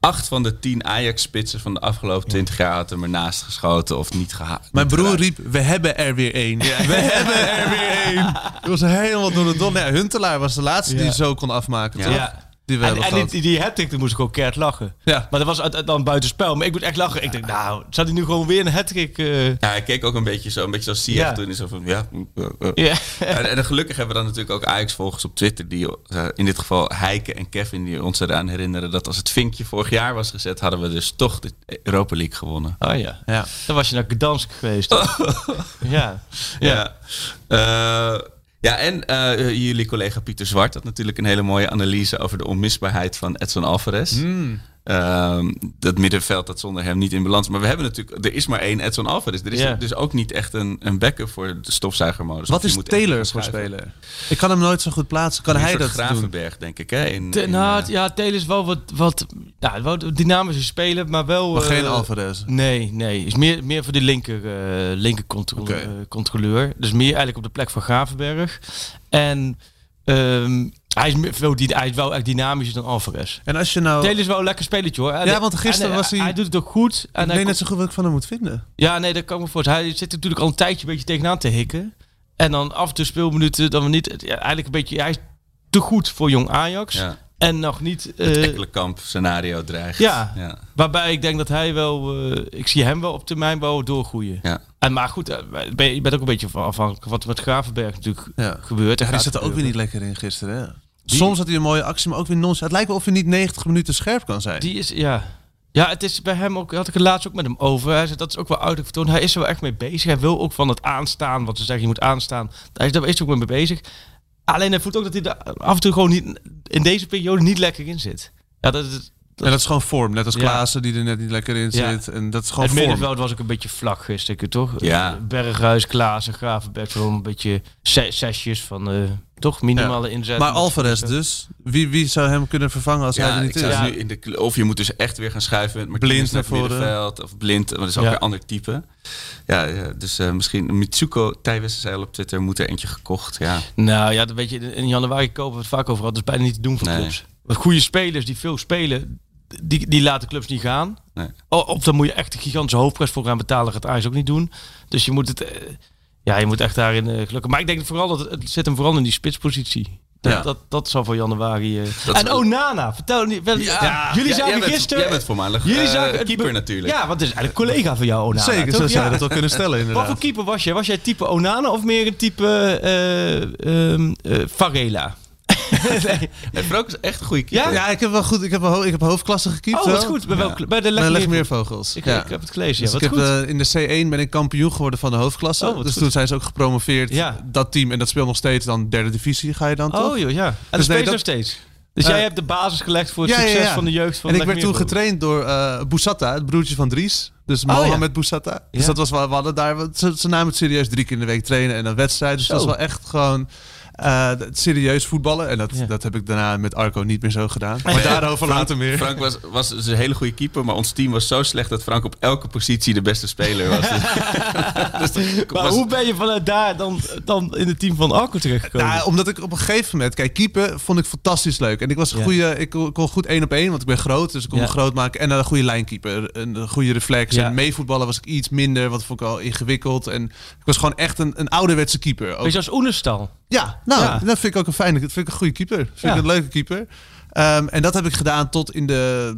Acht van de tien Ajax-spitsen van de afgelopen twintig jaar had hem ernaast geschoten of niet gehaald. Mijn broer riep, we hebben er weer één. We hebben er weer <laughs> één. Het was helemaal door de don. Ja, Huntelaar was de laatste die Ja. zo kon afmaken, toch? Ja. Die we En, hebben en gehad. die, die hat-trick, daar moest ik ook keert lachen. Ja. Maar dat was uit- uit- dan buitenspel. Maar ik moet echt lachen. Ik denk, nou, zou hij nu gewoon weer een hat-trick... eh, Ja, hij keek ook een beetje zo, een beetje zoals Sieg Ja. toen. is Zo van, ja, mm, eh, eh. Ja. <laughs> En, en gelukkig hebben we dan natuurlijk ook Ajax-volgers op Twitter... die eh, in dit geval Heike en Kevin die ons eraan herinneren... dat als het vinkje vorig jaar was gezet... hadden we dus toch de Europa League gewonnen. Oh ja. Ja. Dan was je naar Gdansk geweest. ja. Ja, Eh, ja en eh, jullie collega Pieter Zwart had natuurlijk een hele mooie analyse... over de onmisbaarheid van Edson Alvarez... Hmm. Ehm, dat middenveld dat zonder hem niet in balans. Maar we hebben natuurlijk, er is maar één Edson Alvarez. Er is Ja. dus ook niet echt een, een backup voor de stofzuigermodus. Wat Of je is moet echt Taylor gaan voor schuiven. speler? Ik kan hem nooit zo goed plaatsen. Kan Een hij soort dat doen? Gravenberg, denk ik. Hè? In, Te- in, nou, eh, ja, Taylor is wel wat, wat nou, wel een dynamische speler, maar wel... Maar eh, geen Alvarez. Nee, nee. Is meer, meer voor die linker, eh, linker contro- Oké. eh, controleur. Dus meer eigenlijk op de plek van Gravenberg. En ehm, hij, is meer- veel, die, hij is wel echt dynamischer dan Alvarez. En als je nou... Taylor is wel een lekker spelletje hoor. En- Ja, want gisteren en, was hij- Hij doet het ook goed. ik En hij weet komt- net zo goed wat ik van hem moet vinden. Ja, nee, dat kan ik me voorstellen. Hij zit natuurlijk al een tijdje een beetje tegenaan te hikken. En dan af en toe speelminuten, dan we niet. ja, eigenlijk een beetje. Hij is te goed voor jong Ajax. ja. En nog niet. eh, Het Ekkelenkamp scenario dreigt. ja. ja. waarbij ik denk dat hij wel. eh, ik zie hem wel op termijn wel doorgroeien. Ja. En maar goed, eh, ben je je bent ook een beetje van afhankelijk van wat er met Gravenberg natuurlijk Ja. gebeurt. En Ja, die gaat zat er ook gebeuren. weer niet lekker in gisteren. hè? Soms had hij een mooie actie, maar ook weer non Het lijkt wel of hij niet 90 minuten scherp kan zijn. Die is, ja. Ja, het is bij hem ook, had ik het laatst ook met hem over. Hij zei, dat is ook wel uiterlijk vertoond. Hij is er wel echt mee bezig. Hij wil ook van het aanstaan, wat ze zeggen, je moet aanstaan. Hij is daar is er ook mee bezig. Alleen hij voelt ook dat hij er af en toe gewoon niet, in deze periode niet lekker in zit. Ja, dat, is en dat is gewoon vorm. Net als Ja. Klaassen die er net niet lekker in Ja. zit. En dat is gewoon het vorm. middenveld was ook een beetje vlak gisteren, toch? Ja. Eh, Berghuis, Klaassen, Gravenberg, gewoon een beetje se- zesjes van eh, toch minimale inzet. Maar Alvarez dus. Wie, wie zou hem kunnen vervangen als hij Ja, er ik niet is? zou Ja. nu in de, kle- of je moet dus echt weer gaan schuiven met Martinez Blind naar naar voren. middenveld. Of blind, maar dat is ook Ja. weer ander type. Ja, ja, dus eh, misschien Mitsuko Tijwissen zei al op Twitter, moet er eentje gekocht. Ja. Nou ja, dat weet je, in januari kopen we het vaak over. Dat is bijna niet te doen voor Nee. clubs. Want goede spelers die veel spelen, die, die laten clubs niet gaan. Nee. O- Of dan moet je echt een gigantische hoofdprijs voor gaan betalen. Gaat Ajax ook niet doen. Dus je moet het, eh, ja, je moet echt daarin eh, gelukken. Maar ik denk vooral dat het, het zit hem vooral in die spitspositie. Dat, Ja. dat, dat zal voor januari. eh. Dat En is- Onana, vertel niet. wel- ja, jullie Ja, zagen jij bent- gisteren. Jij bent voormalig jullie eh, zagen- keeper natuurlijk. Ja, want het is eigenlijk een collega van jou, Onana. Zeker, toch? zo zou Ja. je dat wel kunnen stellen Wat voor inderdaad. keeper was jij? Was jij type Onana of meer een type eh, ehm, eh, Varela? nee. Nee, Frank is echt een goede keeper. Ja? Ja, ik heb wel goed. Ik heb, wel ho- ik heb hoofdklasse gekiept. Oh, dat is wel. goed. Bij, welk- bij de Bij Leg meer. Legmeervogels. Ik, ja. ik heb het gelezen. Dus Ja, ik wat heb, goed. eh, in de C1 ben ik kampioen geworden van de hoofdklasse. Oh, wat dus goed. toen zijn ze ook gepromoveerd. Ja. Dat team en dat speelt nog steeds dan derde divisie ga je dan toch? oh joh, ja. En dat nee, speelt dat- nog steeds. Dus Eh, jij hebt de basis gelegd voor het ja, ja, succes ja. van de jeugd van en ik Leg werd toen Meervogels. getraind door eh Boussata, het broertje van Dries. Dus Oh, ja. Mohamed Boussata. Dus Ja. dat was wel, we hadden daar, want ze, ze namen het serieus drie keer in de week trainen en een wedstrijd. Dus dat Zo. was wel echt gewoon eh, serieus voetballen. En dat, Ja. dat heb ik daarna met Arco niet meer zo gedaan. Maar daarover later meer. Frank was, was dus een hele goede keeper, maar ons team was zo slecht dat Frank op elke positie de beste speler was. <laughs> <laughs> dus dat Maar was- hoe ben je vanuit daar dan, dan in het team van Arco terechtgekomen? Ja, Nou, omdat ik op een gegeven moment... Kijk, keeper vond ik fantastisch leuk. En ik was een Ja. goede... Ik kon kon goed één op één, want ik ben groot. Dus ik kon Ja. me groot maken. En een goede lijnkeeper. Een, een goede reflex. Ja. En meevoetballen was ik iets minder. Want vond ik al ingewikkeld. En ik was gewoon echt een, een ouderwetse keeper. Ook- Weet je, als Oenestal. ja, nou, Ja. dat vind ik ook een fijne... Dat vind ik een goede keeper. Vind Ja. ik een leuke keeper. Ehm, en dat heb ik gedaan tot in de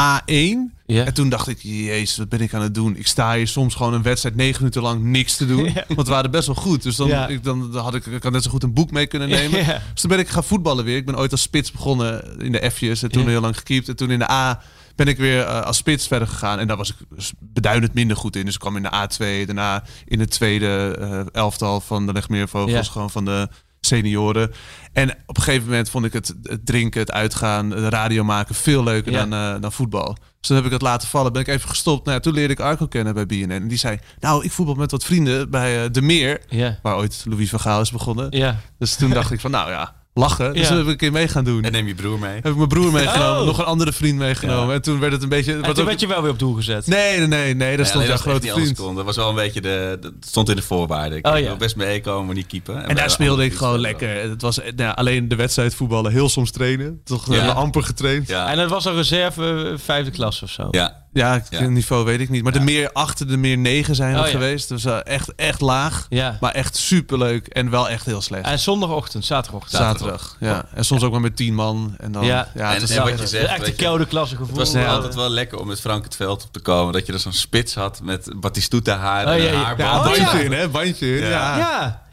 A1. Ja. En toen dacht ik, jezus, wat ben ik aan het doen? Ik sta hier soms gewoon een wedstrijd negen minuten lang niks te <laughs> doen. Want we waren best wel goed. Dus dan, Ja. ik, dan had ik, ik had net zo goed een boek mee kunnen nemen. <laughs> Ja. Dus toen ben ik gaan voetballen weer. Ik ben ooit als spits begonnen in de F'jes. En toen Ja. heel lang gekiept. En toen in de A ben ik weer eh, als spits verder gegaan. En daar was ik dus beduidend minder goed in. Dus ik kwam in de A2. Daarna in het tweede eh, elftal van de Legmeervogels. Ja. Gewoon van de senioren. En op een gegeven moment vond ik het, het drinken, het uitgaan, de radio maken veel leuker Ja. dan, eh, dan voetbal. Dus toen heb ik het laten vallen. Ben ik even gestopt. Nou, ja, toen leerde ik Arco kennen bij BNN. En die zei, nou, ik voetbal met wat vrienden bij eh, De Meer. Ja. Waar ooit Louis van Gaal is begonnen. Ja. Dus toen dacht ik van, nou ja, lachen. Dus Ja. toen heb ik een keer mee gaan doen. En neem je broer mee. heb ik mijn broer meegenomen, Oh. nog een andere vriend meegenomen. En toen werd het een beetje... En wat toen ook- werd je wel weer op doel gezet. Nee, nee, nee, nee, daar Ja, stond alleen jouw dat het echt grote niet vriend. anders kon. Dat was wel een beetje de, dat stond in de voorwaarden. Ik Oh, wil ja. best meekomen, maar niet keepen. En daar speelde ik gewoon lekker. Het was eh, nou, ja, alleen de wedstrijd voetballen, heel soms trainen. Toch Ja. hebben we amper getraind. Ja, En dat was een reserve eh, vijfde klas of zo. ja. Ja, het Ja. niveau weet ik niet. Maar de meer achter de meer negen zijn we Oh, ja. geweest. Dus eh, echt, echt laag. Ja. Maar echt superleuk en wel echt heel slecht. En zondagochtend, zaterdagochtend. Zaterdag. Ja. En soms ook maar met tien man. En dan, ja. Ja. En- het is en wat echt- je Dat zegt, is echt een weet je, koude klasse gevoel. Het was toch Ja. altijd wel lekker om met Frank het veld op te komen. Dat je er zo'n spits had met Batistuta haar Oh, en ja, een ja. haarband. Ja, bandje in, hè? Bandje in. Ja. Ja.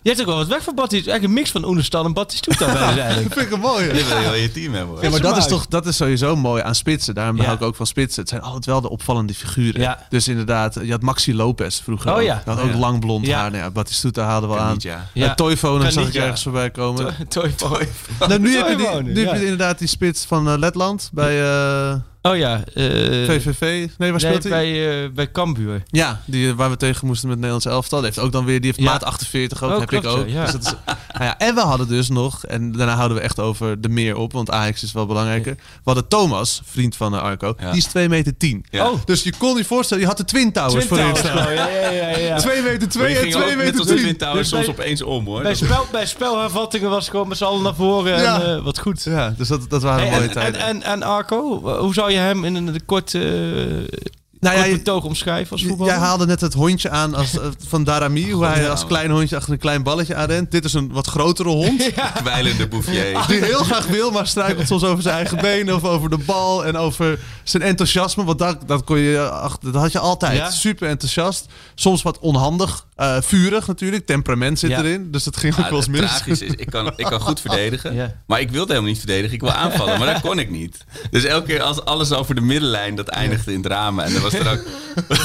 Ja, je hebt ook wel wat weg van Batty. Eigenlijk een mix van Oenestal en Batistuta bij dus eigenlijk. Dat vind ik een mooie. Die wil je heel je team hebben. Ja, Hoor. maar smaak. dat is toch dat is sowieso mooi aan spitsen. Daarom Ja. hou ik ook van spitsen. Het zijn altijd wel de opvallende figuren. Ja. Dus inderdaad, je had Maxi Lopez vroeger. Oh ook. ja. Je had Oh ook ja. lang blond Ja. haar. Nou ja, Batistuta haalde wel aan. Kanidja. Ja. <laughs> Ja. Toyphone zag ik Kanidja. ergens voorbij <laughs> komen. Toy Boy. Nou, nu heb je, die, Toivonen, nu heb ja. je inderdaad die spits van eh, Letland bij eh, Oh ja. eh, VVV. Nee, waar nee, speelt hij? bij, eh, bij Cambuur. Ja, die, eh, waar we tegen moesten met het Nederlands elftal. Die heeft ook dan weer, die heeft Ja. maat 48 ook, Oh, heb klopt, ik ook. ja, ja. Dus dat is, nou ja, en we hadden dus nog, en daarna houden we echt over de meer op, want Ajax is wel belangrijker. We hadden Thomas, vriend van eh, Arco, Ja. die is 2 meter 10. Ja. Oh. Dus je kon je voorstellen, je had de Twin Towers Twin voor Towers je staan. gewoon, ja, ja, ja, <laughs> ja. 2 meter 2 Maar en je ging 2 ook net meter als de 10. Twin Towers Dus soms opeens om hoor. Bij, Dat- spel, bij spelhervattingen was het gewoon met z'n allen naar voren. Ja. En, eh, wat goed. Ja, dus dat, dat waren Hey, mooie en, en, tijden. en, en Arco, hoe zou je hem in een een kort, eh nou, kort ja, je- betoog omschrijven als J- voetballer? Jij haalde net het hondje aan als, eh, van Darami, hoe hij ja, als man. klein hondje achter een klein balletje aanrent. Dit is een wat grotere hond, kwijlende bouffier. <laughs> die heel graag wil, maar struikelt soms over zijn eigen benen of over de bal en over zijn enthousiasme. Want dat, dat, kon je, ach, dat had je altijd. Ja. Super enthousiast, soms wat onhandig, eh, vurig natuurlijk, temperament zit Ja. Ah, erin. Dus dat ging ook Ja, wel eens het mis. tragisch is, ik kan, ik kan goed verdedigen, Ja. maar ik wilde helemaal niet verdedigen. Ik wil aanvallen, maar dat kon ik niet. Dus elke keer als alles over de middenlijn, dat eindigde in drama. En dan was er ook...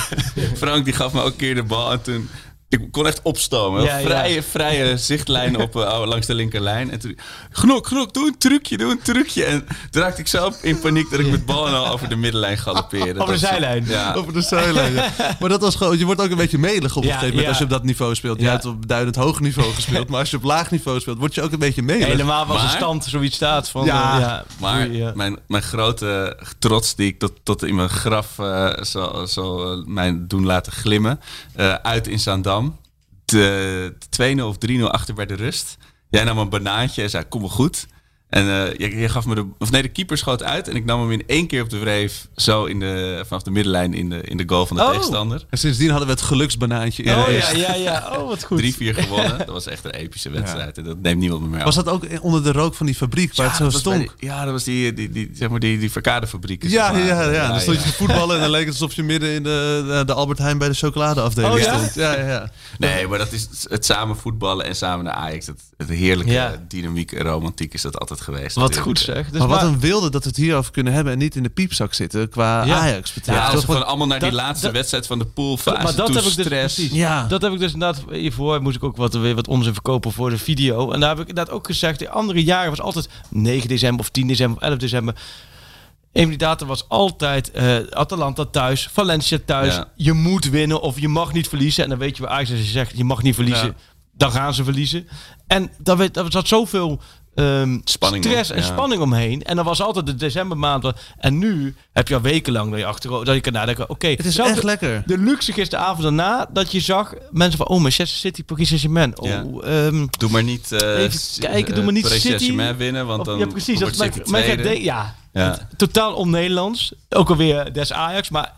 <laughs> Frank die gaf me ook een keer de bal en toen... Ik kon echt opstomen. Ja, ja. vrije, vrije zichtlijn op, eh, oh, langs de linkerlijn. En toen, gnok, gnok, doe een trucje, doe een trucje. En toen raakte ik zo in paniek dat ik met bal en al over de middenlijn galoppeerde. Dat de was- zijlijn. Ja. <laughs> Over de zijlijn. ja. Maar dat was gewoon, je wordt ook een beetje melig op een Ja, gegeven moment ja. als je op dat niveau speelt. Je Ja. hebt op beduidend hoog <laughs> niveau gespeeld, maar als je op laag niveau speelt, word je ook een beetje melig. Helemaal was de Maar- stand zoiets staat van... Ja, eh, ja, Maar oei, ja. mijn, mijn grote trots die ik tot, tot in mijn graf eh zal, zal eh, mij doen laten glimmen. eh, uit in Zaandam. De, de 2-0 of 3-0 achter bij de rust. Jij nam een banaantje en zei kom maar goed. En eh, je, je gaf me de... Of nee, de keeper schoot uit. En ik nam hem in één keer op de wreef. Zo in de, vanaf de middenlijn in de, in de goal van de Oh. tegenstander. En sindsdien hadden we het geluksbanaantje. in Oh de ja, eerste. ja, ja. Oh, wat goed. 3-4 <laughs> gewonnen. Dat was echt een epische wedstrijd. En dat neemt niemand meer mee. Was dat ook onder de rook van die fabriek waar het zo was bij stonk? die- ja, dat was die, die, die, zeg maar die, die verkadefabriek. zeg Ja, maar. ja, ja, Dan stond je te voetballen en dan leek het alsof je midden in de, de- de Albert Heijn bij de chocoladeafdeling Oh, ja? Dus stond. Ja, ja, ja. Nee, maar dat is het samen voetballen en samen naar Ajax. Het, het heerlijke Ja. dynamiek en romantiek is dat altijd geweest. Wat natuurlijk. goed zeg. Dus maar wat een wilde dat we het hierover kunnen hebben en niet in de piepzak zitten qua Ja. Ajax betreft. Ja, als Toch we wat- gewoon allemaal naar die dat- laatste dat- wedstrijd van de poolfase maar dat toe heb ik dus stress. precies. Ja. Dat heb ik dus inderdaad hiervoor moest ik ook wat, weer wat onzin verkopen voor de video. En daar heb ik inderdaad ook gezegd. De andere jaren was altijd 9 december of 10 december of 11 december. Een van die data was altijd eh, Atalanta thuis, Valencia thuis. Ja. Je moet winnen of je mag niet verliezen. En dan weet je waar Ajax als je zegt je mag niet verliezen, Ja. dan gaan ze verliezen. En daar, weet, daar zat zoveel ehm, Spanning stress om, en ja. spanning omheen. En dat was altijd de decembermaand. wel- En nu heb je al wekenlang dat je achter dat je kan nadenken. Oké, het is zelfs- echt lekker. de luxe gisteravond daarna dat je zag mensen van oh Manchester City, Paris Saint-Germain. Oh, Ja. ehm, Doe maar niet... eh, Even s- kijken, doe eh, maar niet Paris City. Saint-Germain winnen, want of- dan ja, precies. wordt Dat City maakt- maakt het tweede. de- ja, Ja. Het- totaal on-Nederlands. Ook alweer des Ajax, maar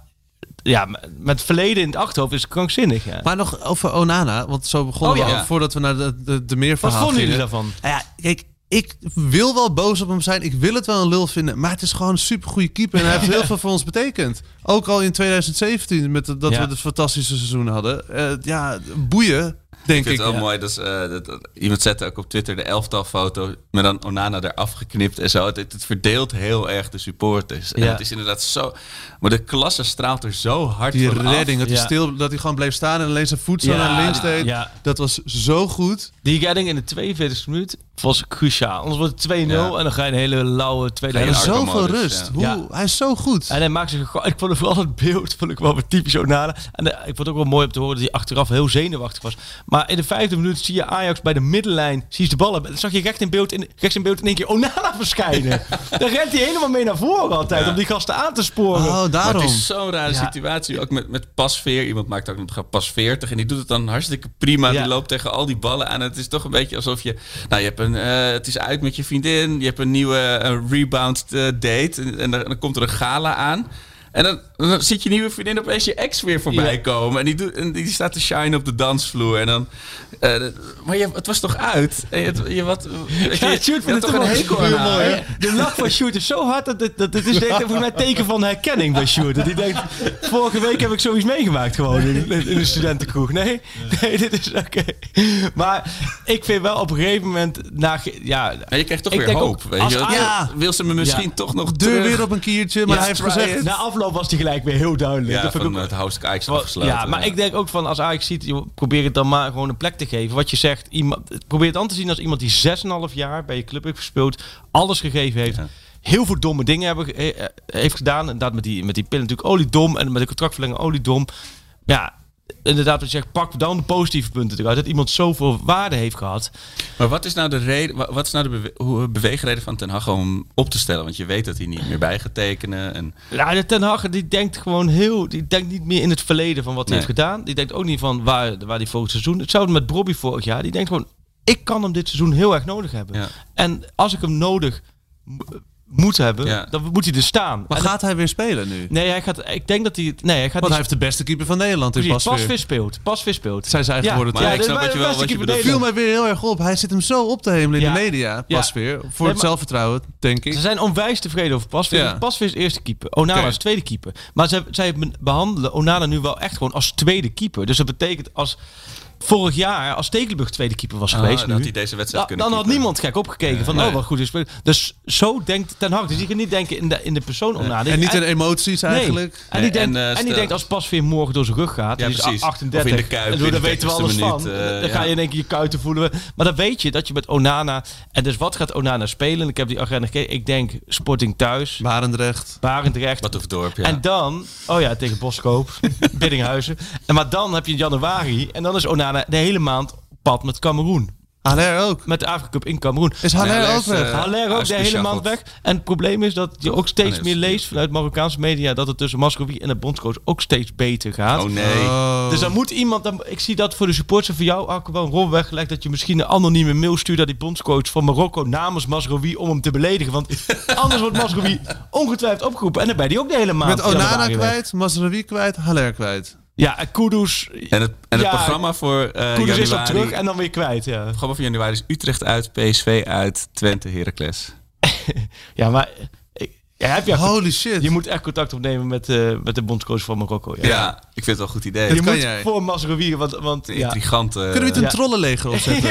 ja, m- met het verleden in het achterhoofd is het krankzinnig. Ja. Maar nog over Onana, want zo begonnen Oh, ja. we al voordat we naar de, de, de meer Wat verhaal Ah, vonden jullie gingen. daarvan? Nou ja, kijk, ik wil wel boos op hem zijn. Ik wil het wel een lul vinden. Maar het is gewoon een supergoeie keeper. En hij heeft <laughs> heel veel voor ons betekend. Ook al in 2017, met de- dat Ja. we het fantastische seizoen hadden. Eh, ja, boeien, denk Ik vind ik. het wel mooi. Dat, is, eh, dat, dat- iemand zette ook op Twitter de elftalfoto met dan Onana eraf geknipt en zo. Het, het, het verdeelt heel erg de supporters. En Ja. het is inderdaad zo... Maar de klasse straalt er zo hard Die van af. redding, dat, ja. hij stil, dat hij gewoon bleef staan en alleen zijn voet zo Ja, naar links die- deed. ja. Dat was zo goed. Die redding in de 42e minuut was cruciaal. Anders wordt het 2-0 Ja. en dan ga je een hele lauwe tweede Ja, En helft. Arkham zoveel Modus, rust. ja. Hoe, Ja. Hij is zo goed. En hij maakt zich gewoon... <laughs> Ik vond het vooral het beeld vond ik wel weer typisch Onana. En eh, ik vond het ook wel mooi om te horen dat hij achteraf heel zenuwachtig was. Maar in de vijfde minuut zie je Ajax bij de middenlijn. Zie je de ballen. Dan zag je recht in beeld in, rechts in beeld in één keer Onana <laughs> verschijnen. Dan rent hij helemaal mee naar voren altijd Ja. om die gasten aan te sporen. Oh, Maar daarom. het is zo'n rare Ja. situatie. Ook met, met pasveer. Iemand maakt ook nog pas 40. En die doet het dan hartstikke prima. Ja. Die loopt tegen al die ballen aan. Het is toch een beetje alsof je. Nou, je hebt een. eh, het is uit met je vriendin. Je hebt een nieuwe eh, rebound eh, date. En, en dan, dan komt er een gala aan. En dan, dan ziet je nieuwe vriendin opeens je ex weer voorbij Ja. komen. En die, doet, en die staat te shine op de dansvloer. En dan, eh, maar je, het was toch uit? En je, je, wat, weet je, Ja, je Sjoerd had vindt het toch een hekel aan haar? De lach van Sjoerd is zo hard dat dit, dat dit is denk ik volgens mij een teken van herkenning bij Sjoerd. Dat hij denkt, vorige week heb ik zoiets meegemaakt gewoon in, in in een studentenkroeg. Nee, nee dit is oké. Maar ik vind wel op een gegeven moment, na, ge- ja, Maar je krijgt toch Ik weer denk ook, hoop. weet als je? wel. Ajax- Ja, Wil ze me misschien Ja. toch nog Deur terug? weer op een kiertje, maar Ja, hij heeft try gezegd... it. na afloop was hij gelijk weer heel duidelijk. Ja, Dat vind ik van ook- het House Ajax Wel, afgesloten. Ja, maar ik denk ook van als Ajax ziet, joh, probeer het dan maar gewoon een plek te geven. Wat je zegt, iemand, probeer het aan te zien als iemand die 6,5 jaar bij je club heeft gespeeld, alles gegeven heeft. Ja. Heel veel domme dingen hebben, ge- eh, eh, heeft gedaan. Inderdaad, met die, met die pillen natuurlijk oliedom. En met de contractverlenging oliedom. Ja, inderdaad, wat je zegt, pak dan de positieve punten eruit. Dat iemand zoveel waarde heeft gehad. Maar wat is nou de reden, wa- wat is nou de bewe- hoe- beweegreden van Ten Hag om op te stellen? Want je weet dat hij niet meer bij gaat tekenen. En, Nou, de Ten Hag die denkt gewoon heel. Die denkt niet meer in het verleden van wat hij Nee. heeft gedaan. Die denkt ook niet van waar, waar hij volgend seizoen. Hetzelfde met Bobby vorig jaar. Die denkt gewoon: ik kan hem dit seizoen heel erg nodig hebben. Ja. En als ik hem nodig m- moet hebben, Ja. dan moet hij er staan. Maar En gaat hij weer spelen nu? dat- nee, hij gaat. Ik denk dat hij. Nee, hij gaat. Want hij niet- heeft de beste keeper van Nederland in precies, Pasveer. Pasveer speelt. Pasveer speelt. Zijn ze eigen geworden, Maar toch? ik dit- snap maar wat je de wel- beste wat je keeper bedoelt. Het viel mij weer heel erg op. Hij zit hem zo op te hemelen in Ja. de media, Ja. Pasveer. Voor maar- het zelfvertrouwen, denk ik. Ze zijn onwijs tevreden over Pasveer. Ja. Want Pasveer is eerste keeper. Onana Oké. is tweede keeper. Maar zij, zij ben- behandelen Onana nu wel echt gewoon als tweede keeper. Dus dat betekent als vorig jaar, als Stekelenburg tweede keeper was Ah, geweest, dat nu, hij deze wedstrijd dan, kunnen dan had keepen. niemand gek opgekeken van Nee. oh wat goed is. Dus zo denkt Ten Hag. Dus je kan niet denken in de, in de persoon Onana. En niet in emoties Nee. eigenlijk. En, Nee, die denkt, en, eh, en, die stel- denkt als Pasveer morgen door zijn rug gaat, Ja, die is precies. 38, Of in de Kuip, en dan in de weten we 40ste alles van. minuut, eh, dan ga ja. je in één keer je kuiten voelen. Maar dan weet je dat je met Onana, en dus wat gaat Onana spelen? Ik heb die agenda gekeken, ik denk Sporting thuis, Barendrecht. Barendrecht. wat hoeft dorp, ja. En dan, oh ja, tegen Boskoop, <laughs> Biddinghuizen. En maar dan heb je in januari, en dan is Onana de hele maand op pad met Cameroen. Haller ook. Met de Afrika Cup in Cameroen. Is Nee, Haller hij ook is, weg? eh, Haller ook de hele uitgeschakeld. maand weg. En het probleem is dat je ook Ah, steeds nee, meer dat is- leest vanuit Marokkaanse media dat het tussen Mascovi en de bondscoach ook steeds beter gaat. Oh nee. Oh. Dus dan moet iemand, dan, ik zie dat voor de supporters van jou, Arco, wel een rol weggelegd dat je misschien een anonieme mail stuurt naar die bondscoach van Marokko namens Masrowi om hem te beledigen. Want <laughs> anders wordt Masrowi ongetwijfeld opgeroepen. En dan ben je ook de hele maand. Met Onana januari weg. kwijt, Mazraoui kwijt, Haller kwijt. Ja, en Kudus, en het, en Ja, het programma voor eh Kudus is dan januari... terug en dan weer kwijt. Ja, het programma voor januari is Utrecht uit, PSV uit, Twente, Heracles. ja maar ik, ja, heb je, Holy shit. je moet echt contact opnemen met, eh, met de bondscoach van Marokko. Ja, ik vind het wel een goed idee. je Het kan moet jij. voor Masrowi, want, want is ja. Intrigant. eh, Kunnen we niet een <laughs> ja. trollenleger opzetten?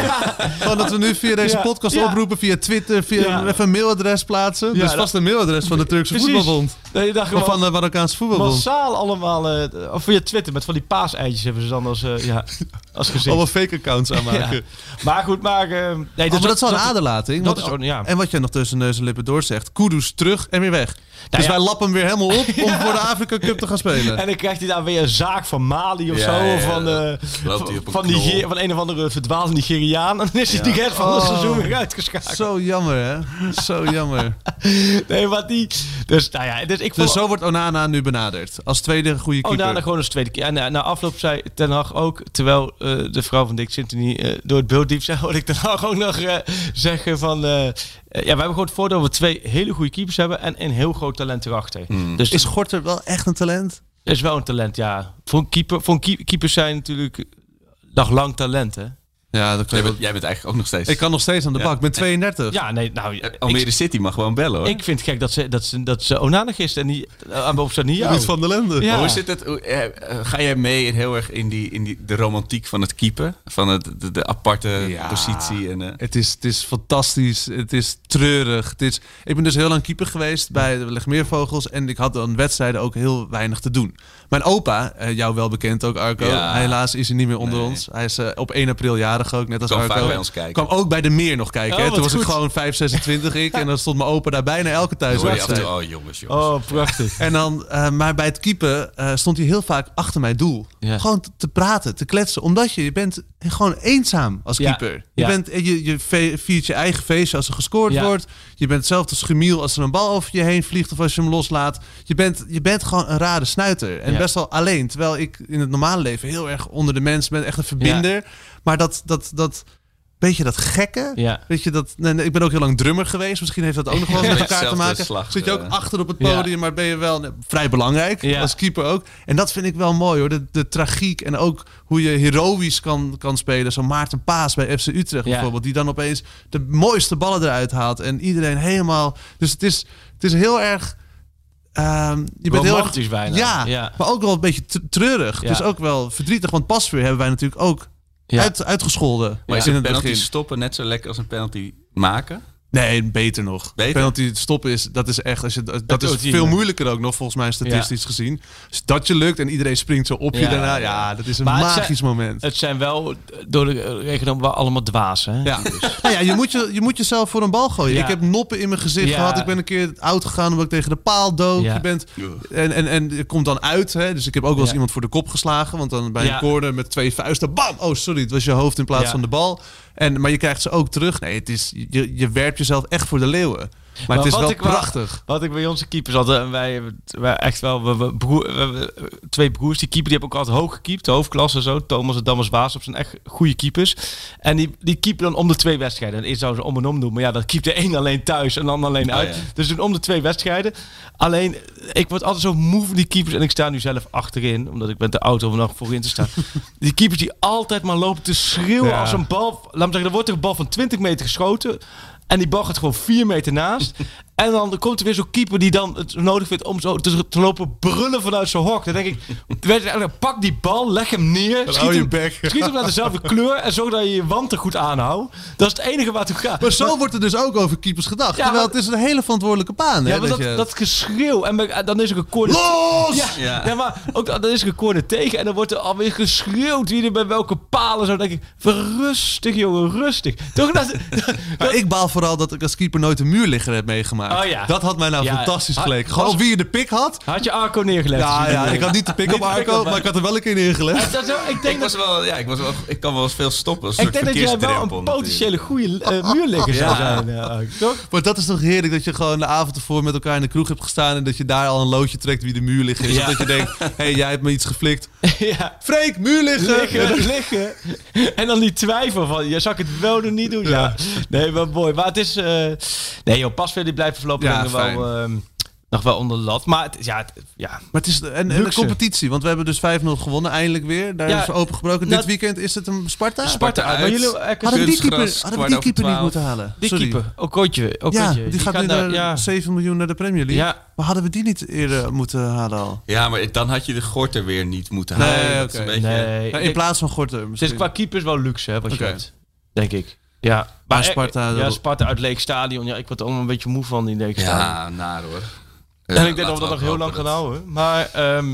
Gewoon dat we nu via deze Ja. podcast Ja. oproepen, via Twitter, via Ja. even een mailadres plaatsen. Ja, dus dat- vast een mailadres van de Turkse Precies. voetbalbond. Nee, je dacht Of gewoon van de Marokkaanse voetbalbond. massaal allemaal, eh, of via Twitter, met van die paaseitjes hebben ze dan als, eh, ja, als gezicht. Allemaal fake accounts aanmaken. Ja. Maar goed, maar... eh, nee, Oh, maar dat is wel een aderlating. dat want- is gewoon- ja. En wat je nog tussen neus en lippen door zegt. Kudus terug en weer weg. dus Nou ja. wij lappen hem weer helemaal <laughs> op om voor de Afrika Cup te gaan spelen. En dan krijgt hij daar weer een zaak van Mali of Ja, zo. ja, of van, ja. eh, Loopt hij van, op een van, knol. Niger- van een of andere verdwaalde Nigeriaan. <laughs> En dan is hij de rest van het Oh. seizoen weer uitgeschakeld. Zo jammer, hè? Zo jammer. Nee, wat die... Dus nou ja, dus ik vond... Dus zo wordt Onana nu benaderd. Als tweede goede Oh, keeper. daarna gewoon als tweede keer. En eh, na afloop zei Ten Hag ook, terwijl eh, de vrouw van Dick Sintony eh, door het beeld diep zei, <laughs> hoorde ik Ten Hag ook nog eh, zeggen van... eh, eh, ja, we hebben gewoon het voordeel dat we twee hele goede keepers hebben en een heel groot talent erachter. Dus Hmm. Is is, Gorter wel echt een talent? is wel een talent, ja. Voor, een keeper, voor een keep- keepers zijn natuurlijk nog lang talent, hè. Ja, dat kan Jij je bent, wel- jij bent eigenlijk ook nog steeds... Ik kan nog steeds aan de bak. Ik ben 32. Ja, nee, nou... Eh, Almere Ik, City mag gewoon bellen hoor. ik vind het gek dat ze, dat ze, dat ze onanig is en die aan bovenstaat niet jou. Ruud van der Lende. Ja. Maar Hoe zit het? hoe- eh, eh, ga jij mee in heel erg in, die, in die, de romantiek van het keepen? Van het, de, de aparte Ja. positie? En, eh, Het is, het is fantastisch. Het is treurig. Het is, ik ben dus heel lang keeper geweest bij de Legmeervogels. En ik had aan wedstrijden ook heel weinig te doen. Mijn opa, eh, jou wel bekend ook, Arco. Ja. Helaas is hij niet meer onder Nee. ons. Hij is eh, op 1 april jarig ook, net als Kwam Arco. vaak bij ons kijken. Kwam ook bij de meer nog Oh, kijken. hè. wat Toen was ik goed. gewoon 5, 26 ik. En dan stond mijn opa daar bijna elke hoor je af en toe, thuiswedstrijd. oh jongens, jongens. Oh, <laughs> prachtig. En dan, eh, maar bij het keepen eh, stond hij heel vaak achter mijn doel. Ja. Gewoon te- te praten, te kletsen. Omdat je, je bent gewoon eenzaam als Ja, keeper. Je, ja. bent, eh, je, je ve- viert je eigen feestje als er gescoord Ja. wordt. Je bent zelf de schemiel als er een bal over je heen vliegt of als je hem loslaat. Je bent, je bent gewoon een rare snuiter. En Ja. best wel alleen. Terwijl ik in het normale leven heel erg onder de mensen ben. Echt een verbinder. Maar dat, dat, dat beetje dat gekke... Ja. Weet je, dat, nee, nee, ik ben ook heel lang drummer geweest. Misschien heeft dat ook nog <laughs> wel met Beetje elkaar te hetzelfde maken. slag, Zit je ook eh. achter op het Ja. podium, maar ben je wel nee, vrij belangrijk Ja. als keeper ook. En dat vind ik wel mooi hoor. De, de tragiek en ook hoe je heroïs kan, kan spelen. Zo Maarten Paas bij FC Utrecht Ja. bijvoorbeeld. Die dan opeens de mooiste ballen eruit haalt. En iedereen helemaal... Dus het is, het is heel erg... ehm, je bent heel erg Romantisch bijna. ja, Ja. maar ook wel een beetje t- treurig. Ja. Dus ook wel verdrietig. Want Pasveer hebben wij natuurlijk ook Ja. uit, uitgescholden. maar is in een het penalty begin. stoppen net zo lekker als een penalty maken? Nee, beter nog. Beter? Penalty stoppen is, dat is echt, als je, dat, Dat is doet hij veel niet. moeilijker ook nog volgens mij statistisch gezien. Als dat je lukt en iedereen springt zo op je Ja. daarna, ja, dat is een Maar het magisch zijn- moment. Het zijn wel, eh, door de eh, regeldom, wel allemaal dwaas, hè? ja. <laughs> Nou ja, je moet, je, je moet jezelf voor een bal gooien. Ja. Ik heb noppen in mijn gezicht Ja. gehad. Ik ben een keer oud gegaan omdat ik tegen de paal dook. Ja. Je bent, Ja. en, en, en je komt dan uit. Hè? Dus ik heb ook wel eens Ja. iemand voor de kop geslagen. Want dan bij Ja. een corner met twee vuisten. Bam! Oh, sorry. Het was je hoofd in plaats Ja. van de bal. En, maar je krijgt ze ook terug. Nee, het is, je, je werpt jezelf echt voor de leeuwen. Maar, het is wat wel ik wel- prachtig. Wat ik bij onze keepers had, en wij, hebben het- wij echt wel, we, we- broer- we hebben twee broers, die keeper, die hebben ook altijd hoog gekiept, de hoofdklasse en zo. Thomas en Damas Waasop zijn echt goede keepers. En die, die keepen dan om de twee wedstrijden. En eerst zouden ze om en om doen, maar ja, dat keept de een alleen thuis en de ander alleen Oh, uit. ja. Dus ze doen om de twee wedstrijden. Alleen, ik word altijd zo moe van die keepers en ik sta nu zelf achterin, omdat ik ben te oud om er nog voorin te staan. die keepers die altijd maar lopen te schreeuwen Ja. als een bal, laat me zeggen, er wordt er een bal van 20 meter geschoten. En die bal gaat gewoon 4 meter <laughs> naast. en dan komt er weer zo'n keeper die dan het nodig vindt om zo te, te lopen brullen vanuit zijn hok. Dan denk ik, weet je, pak die bal, leg hem neer. hou je hem, bek. schiet hem naar <laughs> dezelfde kleur en zorg dat je je wanten goed aanhoudt. Dat is het enige waar het om gaat. Maar zo wordt er dus ook over keepers gedacht. Ja, terwijl maar- het is een hele verantwoordelijke baan. Ja, hè, maar dat, dat, je- dat geschreeuw. En bij- dan is er een corner... Los! Ja, ja. Ja. maar ook dan dan is er een corner tegen en dan wordt er alweer geschreeuwd wie er bij welke palen zo. Dan denk ik, rustig jongen, rustig. Toch? Dat, <laughs> Maar ik baal vooral dat ik als keeper nooit een muurligger heb meegemaakt. Oh ja. Dat had mij nou Ja, fantastisch had- geleken. Gewoon was- wie je de pik had. Had je Arco neergelegd? Ja, ja, ik had niet de pik op eh. Arco, maar ik had er wel een keer <laughs> ingelegd. Dat is wel- ik Ik, denk was dat, wel, ja, ik, was wel, ik kan wel eens veel stoppen. Een ik soort denk dat jij wel verkeersdrempel een natuurlijk. potentiële goede eh, muurligger zou zijn, eh, Arco, <laughs> toch? Maar dat is toch heerlijk dat je gewoon de avond ervoor met elkaar in de kroeg hebt gestaan. En dat je daar al een loodje trekt wie de muurligger is. Ja. Of dat je <laughs> denkt, hé, hey, jij hebt me iets geflikt. ja. Freek, muurligger! Liggen, liggen. En dan die twijfel van, ja, zou ik het wel doen, niet doen? Ja. Nee, maar mooi. Maar het is... eh, nee joh, Pasveer die blijft voorlopig Ja, nog wel, ehm, nog wel onder de lat. Maar het, ja, het- ja, Maar het is en, en de Luxe. competitie, want we hebben dus 5-0 gewonnen eindelijk weer. Daar Ja, is opengebroken. nou- Dit weekend is het een Sparta? Sparta uit. Maar jullie eh, Hadden we die keeper, Kunstgras, hadden we kwart die over keeper niet twaalf. moeten halen? die Sorry. keeper, Okootje. Ja, Okootje, die, gaat nu daar- naar ja. 7 miljoen naar de Premier League. Ja. Maar hadden we die niet eerder moeten halen al? Ja, maar dan had je de gorter weer niet moeten Nee, halen. Dat is oké. een beetje- Nee. Nou, in plaats van Gorter Het is misschien. qua keepers wel luxe, hè, wat Oké. je hebt. Denk ik. Ja. Maar Sparta, eh, Ja, dat- Sparta uit Leek Stadion. Ja, ik word er allemaal een beetje moe van in Leek Stadion. Ja, naar hoor. en ik denk dat we dat nog heel lang gaan houden. Maar ehm,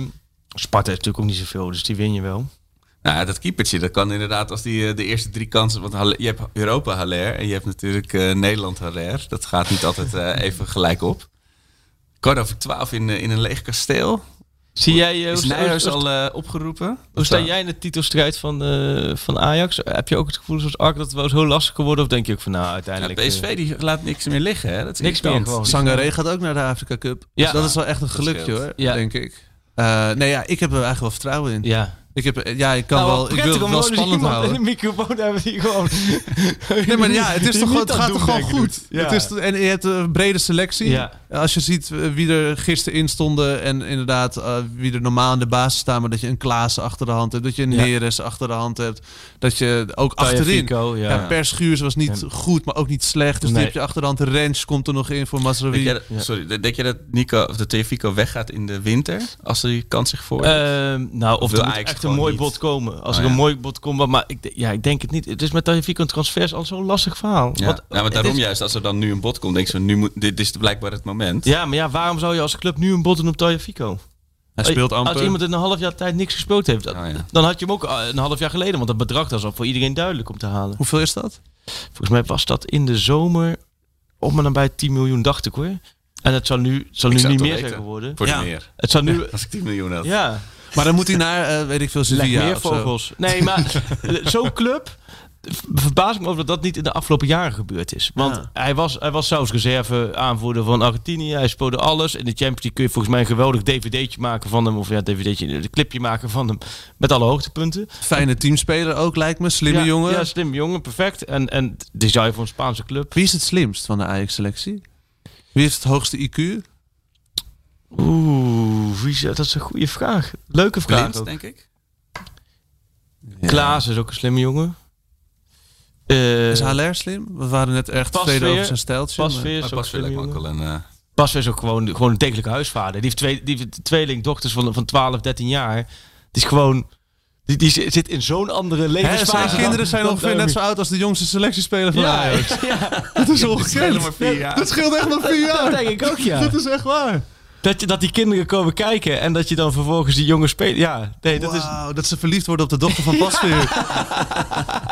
Sparta heeft natuurlijk ook niet zoveel, dus die win je wel. Nou, dat keepertje, dat kan inderdaad als die eh, de eerste drie kansen... Want Haller- je hebt Europa Haller en je hebt natuurlijk eh, Nederland Haller. Dat gaat niet altijd <laughs> eh, even gelijk op. Kwart over twaalf in, eh, in een leeg kasteel. Zie jij, eh, Is hoe, sta- Nijhuis hoe- al eh, opgeroepen? hoe sta Of, eh, jij in de titelstrijd van, eh, van Ajax? Heb je ook het gevoel zoals Ark dat het wel eens heel lastig geworden? Of denk je ook van nou Ja, uiteindelijk... eh, PSV die laat niks meer liggen, hè? Dat is Niks meer irritant. gewoon. Sangaré gaat ook naar de Afrika Cup. Ja. Dus dat is wel echt een Dat gelukje scheelt. hoor, Ja. denk ik. Eh, nee, ja, ik heb er eigenlijk wel vertrouwen in. ja, Ik, heb, ja, ik kan Nou, wel, ik wil het prettig om wel gewoon eens spannend iemand houden. in de microfoon te hebben die gewoon... <laughs> Nee, maar ja, het, <laughs> is die toch niet gewoon, het dat gaat doen toch gewoon denken doet. goed. Ja. Het is, en je hebt een brede selectie. Ja. Als je ziet eh, wie er gisteren in stonden en inderdaad eh, wie er normaal in de basis staan, maar dat je een Klaas achter de hand hebt, dat je een Ja. Neres achter de hand hebt, dat je ook Taya achterin. Fico, ja. Ja, Perschuurs was niet Ja. goed, maar ook niet slecht. Dus Nee. die heb je achter de hand. Rens komt er nog in voor Denk Mazraoui. jij dat, Ja. Sorry, denk je dat Nico of de Tefico weggaat in de winter als er die kans zich voor? Ehm, nou, of Wil er moet Ajax echt een gewoon mooi niet. bod komen. Als Oh, er een ja. mooi bod komt, maar- maar ik, de- ja, ik denk het niet. Het is met Tajafico een transfers al zo'n lastig verhaal. ja. Want- ja, nou, maar het daarom is- juist, als er dan nu een bod komt, denk je zo, nu moet, dit is blijkbaar het moment. Ja, maar ja, waarom zou je als club nu een bod doen op Tajafico? Hij speelt amper. Als iemand in een half jaar tijd niks gespeeld heeft, dat- Oh, ja. dan had je hem ook eh, een half jaar geleden. Want dat bedrag was al voor iedereen duidelijk om te halen. Hoeveel is dat? Volgens mij was dat in de zomer op en nabij 10 miljoen, dacht ik hoor. En het zal nu, het zal zou nu niet het wel meer weten. zijn geworden. Voor Ja. de meer. Het zal nu... Als ik 10 miljoen had. Ja, Maar dan moet hij naar, eh, weet ik veel, Leg Sevilla meer of zo. vogels. Nee, <laughs> maar zo'n club. Verbaas ik me over dat dat niet in de afgelopen jaren gebeurd is. Want Ja. hij was, hij was zelfs reserve aanvoerder van Argentinië. Hij speelde alles. In de Champions League kun je volgens mij een geweldig dvd'tje maken van hem. Of ja, dvd'tje, een clipje maken van hem. Met alle hoogtepunten. Fijne teamspeler ook, lijkt me. Slimme ja, jongen. Ja, slim jongen. Perfect. En, en die zou je voor een Spaanse club. Wie is het slimst van de Ajax-selectie? Wie heeft het hoogste IQ? Oeh, wie zou- dat is een goede vraag. Leuke vraag Blind, ook. denk ik. Klaas is ook een slimme jongen. Eh, Is HLR slim? We waren net erg tevreden Pasveer. over zijn stijltje. maar- Pasveer Maar is ook een pas slimme wil ik jongen. ook wel een... eh, Bas is ook gewoon, gewoon een degelijke huisvader. Die heeft, twee, die heeft tweeling dochters van, van 12, 13 jaar. Die is gewoon... Die, die zi- zit in zo'n andere Hè, levensfase. zijn dan- kinderen zijn dan ongeveer net zo oud als de jongste selectiespeler van Ja, Ajax. ja, Dat is ongekend. maar vier jaar. Dat scheelt echt nog <laughs> vier dat jaar. denk ik ook, <laughs> ja. Dat is echt waar. Dat, je, dat die kinderen komen kijken en dat je dan vervolgens die jongen speelt. Ja, nee, dat Dat, is... dat ze verliefd worden op de dochter van <laughs> Pasveer.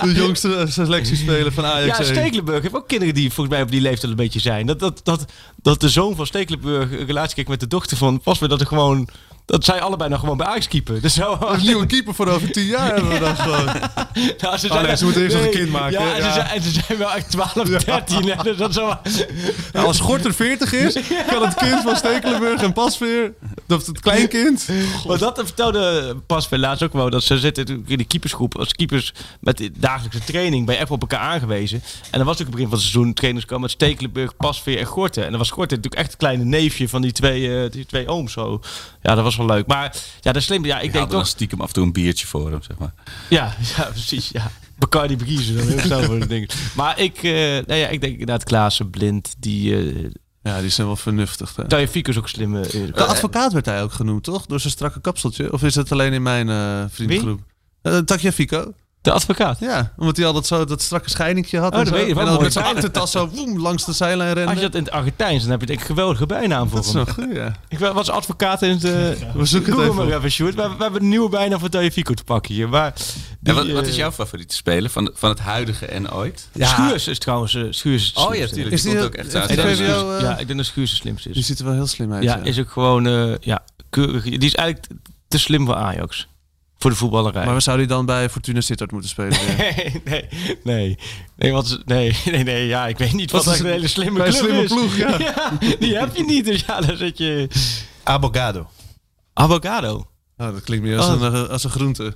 De jongste selectiespeler van Ajax. Ja, heen. Stekelenburg heeft ook kinderen die volgens mij op die leeftijd een beetje zijn. Dat, dat, dat, dat de zoon van Stekelenburg een relatie kreeg met de dochter van Pasveer, dat er gewoon... Dat zij allebei nog gewoon bij Ajax keeper. Dus zo, Een nieuwe keeper voor over tien jaar hebben we dan gewoon. Nou, ze, Oh, nee, ze moeten eerst nog een kind maken, Ja, en, Ze ja. zijn, en ze zijn wel echt 12, 13. hè, dus dat is wel- <laughs> Nou, als Gorter 40 is, kan het kind van Stekelenburg en Pasveer, of het kleinkind, Maar dat vertelde pas bij laatst ook wel. Dat ze zitten natuurlijk in de keepersgroep als keepers met de dagelijkse training bij echt op elkaar aangewezen. En dan was ook het begin van het seizoen. Trainers kwamen met Stekelenburg, Pasveer en Gorten. En dan was Gorten natuurlijk echt het kleine neefje van die twee, eh, die twee ooms. Zo. Ja, dat was wel leuk. Maar ja, dat is slim. Ja, ik Ik denk had er toch. nog stiekem af en toe een biertje voor hem, zeg maar. Ja, <laughs> ja precies. Ja. Bacardi Briezen, dan heel snel voor de dingen. Maar ik, eh, nou ja, ik denk inderdaad Klaassen, Blind, die... eh Ja, die zijn wel vernuftig. hè. Tajafico is ook slim. eh, eerlijk. De advocaat werd hij ook genoemd, toch? Door zijn strakke kapseltje. Of is dat alleen in mijn eh vriendengroep? Eh Takja Fico. De advocaat. Ja, omdat hij al dat, zo, dat strakke scheidingje had. Oh, en dat zo. weet je, wat en dan mooi. met zijn achtertas zo woem, langs de zijlijn Als rennen. je dat in het Argentijns, dan heb je denk ik een geweldige bijnaam voor Dat is hem. wel goed, ja. Ik wa- was advocaat in de... We zoeken het Google even maar op. even, Sjoerd. We, we hebben een nieuwe bijnaam voor Tajafico te pakken hier. Maar die, en wat, wat eh, is jouw favoriete speler van, van het huidige en ooit? Schuurs is trouwens... eh, Schuurs is het Oh ja, slimste. tuurlijk. Is die die komt ook echt ook- uit. is Ik Ja, denk dat VWO, Schuurs- eh, Ja, ik denk dat Schuurs het slimste Die is. ziet er wel heel slim uit. Ja, Ja, is ook gewoon... eh, ja, keurig. Die is eigenlijk te slim voor Ajax. Voor de voetballerij. Maar we zouden die dan bij Fortuna Sittard moeten spelen. weer? <laughs> Nee, nee, nee. Nee, want ze- nee, <laughs> nee, nee, ja, ik weet niet wat, Wat is echt een hele slimme een club slimme is. ploeg, <laughs> ja. Die heb je niet, dus ja, dan zit je... Abogado. Avocado. Oh, dat klinkt meer als, Oh. een, eh, als een groente.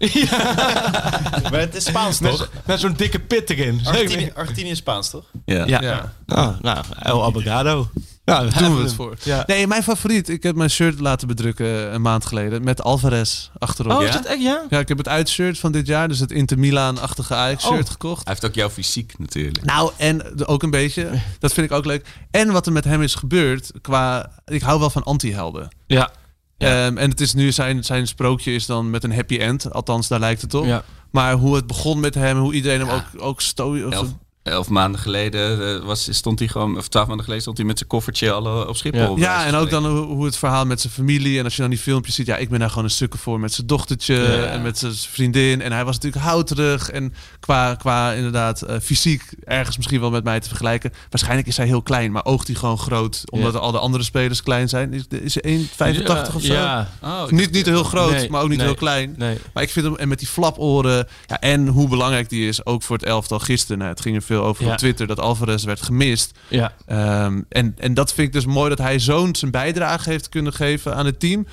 Maar het is Spaans, toch? Met zo'n dikke pit erin. Argentinië, Argentinië is Spaans, toch? ja. Ja. Ja. Ah, nou, El Avocado. Nou, daar Doen hebben we hem. het voor. <laughs> Ja. Nee, mijn favoriet. Ik heb mijn shirt laten bedrukken eh, een maand geleden. Met Alvarez achterop. Oh, ja. is dat echt, ja? ik heb het uitshirt van dit jaar. Dus het Inter Milaan-achtige Ajax-shirt Oh. gekocht. Hij heeft ook jouw fysiek natuurlijk. Nou, en de- ook een beetje. Dat vind ik ook leuk. En wat er met hem is gebeurd qua... Ik hou wel van anti-helden. Ja. Ehm, en het is nu zijn, zijn sprookje is dan met een happy end. Althans, daar lijkt het op. Ja. Maar hoe het begon met hem, hoe iedereen hem ook, ook stooien. Elf, elf maanden geleden eh, was, stond hij gewoon, of twaalf maanden geleden stond hij met zijn koffertje al eh, op Schiphol. Ja. bij wijze Ja, van en ook spreken. dan hoe, hoe het verhaal met zijn familie. En als je dan die filmpjes ziet, ja, ik ben daar gewoon een stukken voor met zijn dochtertje en met zijn vriendin. En hij was natuurlijk houterig en qua, qua inderdaad eh, fysiek ergens misschien wel met mij te vergelijken. Waarschijnlijk is hij heel klein, maar oogt hij gewoon groot, omdat al de andere spelers klein zijn. Is, is hij 1,85 of zo? Ja. Oh, ik Niet, niet heel groot, Nee, maar ook niet nee. heel klein. Nee. Maar ik vind hem en met die flaporen ja, en hoe belangrijk die is, ook voor het elftal gisteren. Nou, het ging er veel over Ja. op Twitter dat Alvarez werd gemist. Ja. Ehm, en, en dat vind ik dus mooi dat hij zo'n zijn bijdrage heeft kunnen geven aan het team.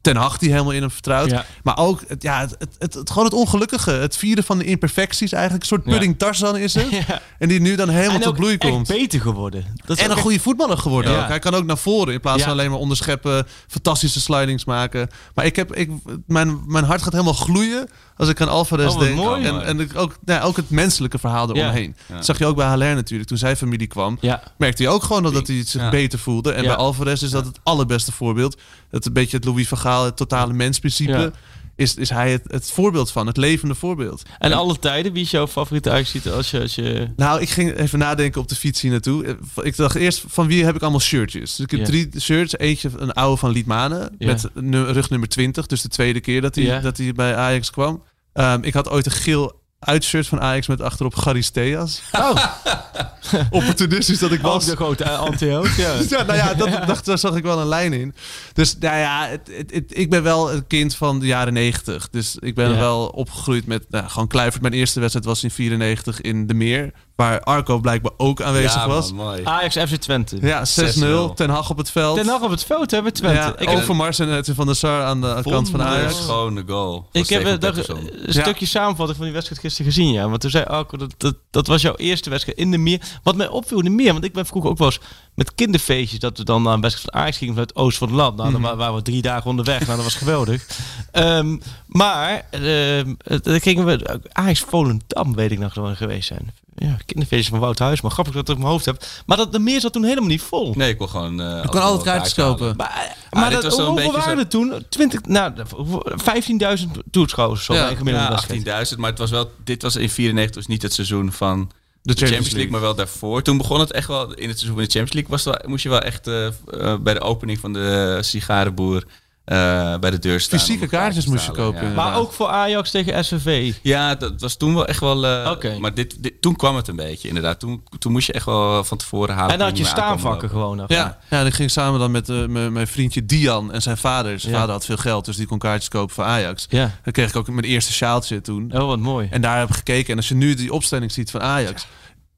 Ten Hag die helemaal in hem vertrouwt. Ja. Maar ook het, ja, het, het, het, het- gewoon het ongelukkige. Het vieren van de imperfecties eigenlijk. Een soort pudding Tarzan <laughs> is het. En die nu dan helemaal En tot ook bloei echt komt. beter geworden. Dat is En een ook goede voetballer geworden Ja. ook. Hij kan ook naar voren in plaats Ja. van alleen maar onderscheppen. Fantastische slidings maken. Maar ik heb, ik, mijn, mijn hart gaat helemaal gloeien als ik aan Alvarez Oh, wat denk. mooi, en man. en ik ook, nou ja, ook het menselijke verhaal eromheen. Dat zag je ook bij Haller natuurlijk. Toen zijn familie kwam, Ja. merkte hij ook gewoon dat, dat hij zich Ja. beter voelde. En Ja. bij Alvarez is dat het allerbeste voorbeeld. Dat een beetje het Louis van Gaal, het totale mensprincipe... Ja. Is, is hij het, het voorbeeld van, het levende voorbeeld. En alle tijden, wie is jouw favoriete ajax als je... Als je... Nou, ik ging even nadenken op de fiets hier naartoe. Eh, Ik dacht eerst, van wie heb ik allemaal shirtjes? Dus ik heb Ja. drie shirts. Eentje, een oude van Liedmanen. Ja. Met nu- rug nummer 20. Dus de tweede keer dat hij, Ja. dat hij bij Ajax kwam. Ehm, ik had ooit een geel uitshirt van Ajax met achterop Garisteas. Oh. <laughs> Opportunistisch dat ik was. de grote eh, anti-held, ja. <laughs> Ja, nou ja, dat, dacht, daar zag ik wel een lijn in. Dus nou ja, het, het, het- ik ben wel een kind van de jaren 90. Dus ik ben Ja. wel opgegroeid met nou, gewoon Kluivert. Mijn eerste wedstrijd was in 94 in De Meer. Waar Arco blijkbaar ook aanwezig ja, was. man, mooi. Ajax FC Twente. Ja, 6-0. 6-0. Ten Hag op het veld. Ten Hag op het veld hebben Twente. Ja, ik heb, Overmars en Edwin van der Sar aan de kant van Ajax. schone goal. ik heb eh, dat- een een stukje samenvatting van die wedstrijd gisteren gezien, ja. Want toen zei Arco, dat, dat, dat was jouw eerste wedstrijd in de meer. Wat mij opviel in de meer, want ik ben vroeger ook wel eens met kinderfeestjes... dat we dan naar een wedstrijd van Ajax gingen vanuit Oost van het Land. Nou, Mhm. dan wa- waren we drie dagen onderweg. Nou, dat was geweldig. <laughs> Ehm, maar, ehm, eh, dan gingen we... Ajax Volendam weet ik nog gewoon geweest zijn. Ja, kinderfeestjes van Wout Huisman. Grappig dat ik het op mijn hoofd heb. Maar dat, de meer zat toen helemaal niet vol. Nee, ik wil gewoon... eh Ik kon altijd kaartjes kopen. Maar, eh, Ah, maar dit dat, was wel een hoeveel beetje waren zo- er toen? 20, nou, hoeveel- 15.000 toeschouwers of zo Ja, bij een gemiddelde Ja, wedstrijd. 18.000, maar het was wel, dit was in 94 dus niet het seizoen van De de Champions League, maar wel daarvoor. Toen begon het echt wel in het seizoen van de Champions League. Was het wel, moest je wel echt eh, v- eh, bij de opening van de sigarenboer eh, bij de deur staan. Fysieke om elkaar kaartjes te moest je halen, kopen, ja. inderdaad. Maar ook voor Ajax tegen SVV. Ja, dat was toen wel echt wel. eh, Oké. Maar dit, dit, toen kwam het een beetje, inderdaad. Toen, toen moest je echt wel van tevoren halen. En dan had je hoe aankwam staanvakken lopen. gewoon nog. Ja, ja en ik ging samen dan met eh, mijn mijn vriendje Dian en zijn vader. Zijn Ja. vader had veel geld, dus die kon kaartjes kopen voor Ajax. Ja. Dan kreeg ik ook mijn eerste sjaaltje toen. Oh, wat mooi. En daar heb ik gekeken. En als je nu die opstelling ziet van Ajax.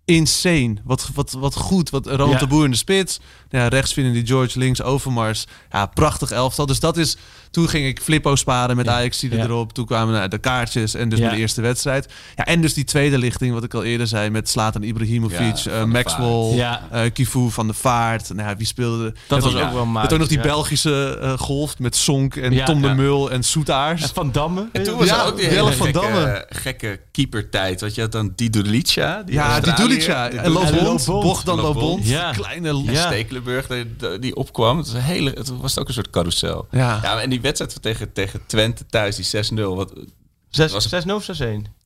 Insane. Wat, wat, wat goed. Wat Ronald Ja. de Boer in de spits. Nou Ja, rechts vinden die George, links Overmars. Ja, prachtig elftal. Dus dat is... Toen ging ik Flippo sparen met Ajax die Ja. erop. Toen kwamen nou, de kaartjes en dus Ja. mijn eerste wedstrijd. Ja, en dus die tweede lichting, wat ik al eerder zei... met Slatan Ibrahimovic, Ja, eh, Van der Maxwell, Vaart. Ja. eh, Kivu van der Vaart. Nou, ja, wie speelde... dat was ja. ook wel Dat maat. Met ook nog die ja. Belgische eh, golf met Sonk en Ja, Tom de ja. Mul en Soetaars. En Van Damme. En toen was Ja, er ook die Jelle hele van van gekke, eh, Damme. gekke keepertijd. Want je had dan die Dulica. Ja, die Australiër, Dulica. die En Dulica. Lobond. En Lobond. Bogdan Lobond. Lobond. Ja. Kleine... Ja. Ja. Stekelenburg die, die opkwam. Het was, een hele, het was ook een soort carousel. Ja. maar en die wedstrijd tegen, tegen Twente thuis, die 6-0. Wat, Zes- was- 6-0 of 6-1?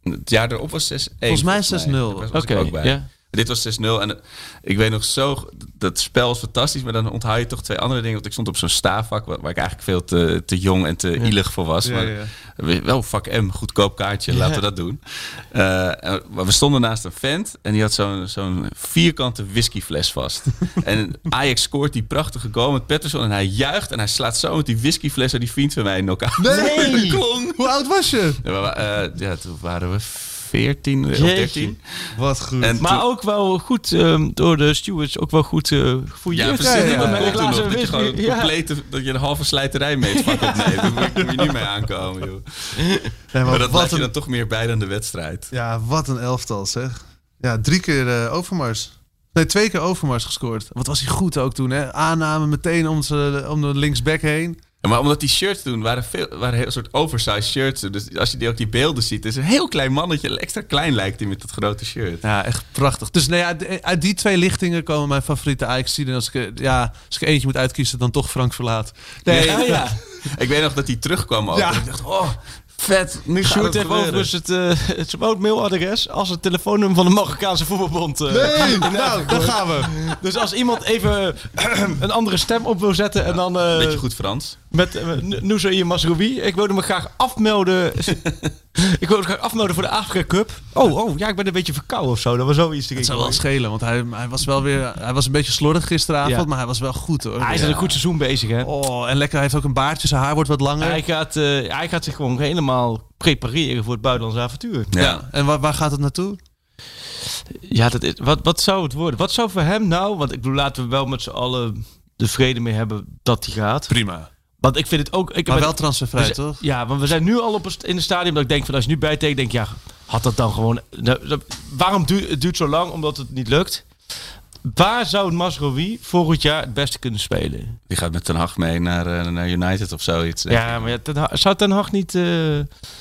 het jaar erop was 6-1. Volgens mij 6-0. Daar was ik Oké, ook bij. ja. Dit was 6-0 en eh, ik weet nog zo, dat spel is fantastisch, maar dan onthoud je toch twee andere dingen. Want ik stond op zo'n staafvak, waar, waar ik eigenlijk veel te, te jong en te ielig voor was. Ja, maar ja. we- wel vak M, goedkoop kaartje, laten we dat doen. Eh, en- maar we stonden naast een vent en die had zo'n zo'n vierkante whiskyfles <laughs> vast. en Ajax scoort die prachtige goal met Pettersson en hij juicht en hij slaat zo met die whiskyfles aan die vriend van mij in elkaar. <laughs> Nee! Klong! Hoe oud was je? Ja, maar, eh, ja, toen waren we 14 of Jeetje. 13. Wat goed. En Maar toen- ook wel goed ehm, door de stewards, ook wel goed eh gefouilleerd. ja, precies. ja, Dat Met een komt toen nog, glazen dat je whisky. gewoon een Ja. complete, dat je een halve slijterij mee het vak opneemt. Daar moet, moet je niet mee aankomen, joh. Nee, maar Maar dat laat wat, je dan een, toch meer bij dan de wedstrijd. ja, wat een elftal zeg. Ja, drie keer eh, Overmars. Nee, twee keer Overmars gescoord. Wat was hij goed ook toen, hè? Aanname meteen om, ze, om de linksback heen. Ja, maar omdat die shirts toen waren, veel, waren heel soort oversized shirts. Dus als je die, ook die beelden ziet, is een heel klein mannetje. Extra klein lijkt hij met dat grote shirt. Ja, echt prachtig. Dus nou ja, d- uit die twee lichtingen komen mijn favoriete ajax En als ik, eh, ja, als ik eentje moet uitkiezen, dan toch Frank Verlaat. Nee, Ja, ja. <laughs> Ik weet nog dat hij terugkwam ook. Ja. En ik dacht, oh, vet. Nu gaat Sjoerd het heeft gebeuren. overigens het, eh, <laughs> het mailadres als het telefoonnummer van de Marokkaanse voetbalbond. eh. <laughs> nou, daar gaan we. Dus als iemand even <clears throat> een andere stem op wil zetten en dan eh, Beetje goed Frans. met uh, Noezaïe Masroubi. Ik wilde me graag <laughs> afmelden. ik wilde me graag afmelden voor de Afrika Cup. Oh, oh, ja, ik ben een beetje verkouden of zo. Dat was zoiets. Het zou wel schelen, want hij, hij was wel weer... Hij was een beetje slordig gisteravond, Ja. maar hij was wel goed, hoor. Hij is Ja. een goed seizoen bezig, hè? Oh, en lekker, hij heeft ook een baardje, zijn haar wordt wat langer. Hij gaat, eh, hij gaat zich gewoon helemaal prepareren voor het buitenlandse avontuur. Ja. En waar, waar gaat het naartoe? Ja, dat is, wat, wat zou het worden? Wat zou voor hem nou... Want ik bedoel, laten we wel met z'n allen de vrede mee hebben dat hij gaat. Prima. Want ik vind het ook... Ik Maar ben- wel transfervrij, we zijn- toch? Ja, want we zijn nu al op een st- in een stadium dat ik denk van als je nu bijtekent, denk ik, ja, had dat dan gewoon. nou, dat- waarom duurt het duurt zo lang? Omdat het niet lukt. Waar zou Masrowi volgend jaar het beste kunnen spelen? Die gaat met Ten Hag mee naar, eh, naar United of zoiets. denk ik. Ja, maar ja, ten, Hag- zou Ten Hag niet... eh,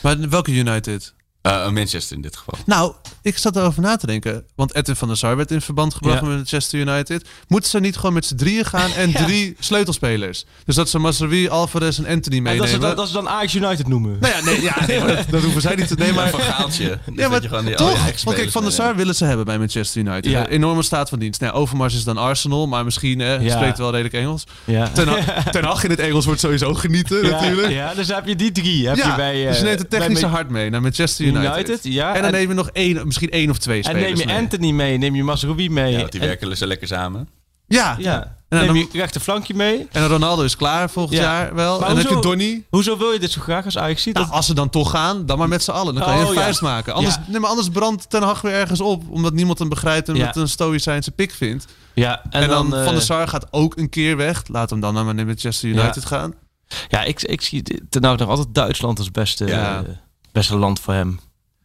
Maar welke United? Eh, Manchester in dit geval. Nou, ik zat erover na te denken. Want Edwin van der Sar werd in verband gebracht Ja. met Manchester United. Moeten ze niet gewoon met z'n drieën gaan <laughs> en drie sleutelspelers? Dus dat ze Masraoui, Alvarez en Anthony en meenemen. dat, ze, dan- dat ze dan Ajax United noemen. Nou ja, nee, ja, nee maar dat, dat hoeven zij <laughs> niet te nemen. Maar Maar... van Gaaltje. Dus Ja, dat maar je gewoon die oude toch? Want kijk, ex-spelers Van der Sar meeneemt. willen ze hebben bij Manchester United. Ja. Een enorme staat van dienst. Nou, Overmars is dan Arsenal, maar misschien eh, Ja. spreekt wel redelijk Engels. Ja. <laughs> Ten, Ha- Ten Hag in het Engels wordt sowieso genieten, Ja, natuurlijk. Ja, dus heb je die drie. Heb Ja, je bij, eh, dus je neemt het technische bij Man- hart mee naar Manchester United. United, ja. En dan En- neem je nog één, misschien één of twee En spelers neem je mee. Anthony mee, neem je Masrowi mee. Ja, want die en- werken ze lekker samen. Ja. Ja, En neem dan- je rechterflankje mee. En Ronaldo is klaar volgend Ja. jaar wel. Maar en dan heb je hoezo- Donny. Hoezo wil je dit zo graag als Ajax ziet? Nou, als ze dan toch gaan, dan maar met z'n allen. Dan kan je Oh, een ja. vuist maken. Anders, Ja. nee, maar anders brandt Ten Hag weer ergens op. Omdat niemand hem begrijpt en Ja. omdat het een stoïcijnse pik vindt. ja, En, dan, Van der eh, Sar gaat ook een keer weg. Laat hem dan naar Manchester United gaan. Ja, ik, ik zie ten nog altijd Duitsland als beste, Ja. eh, beste land voor hem.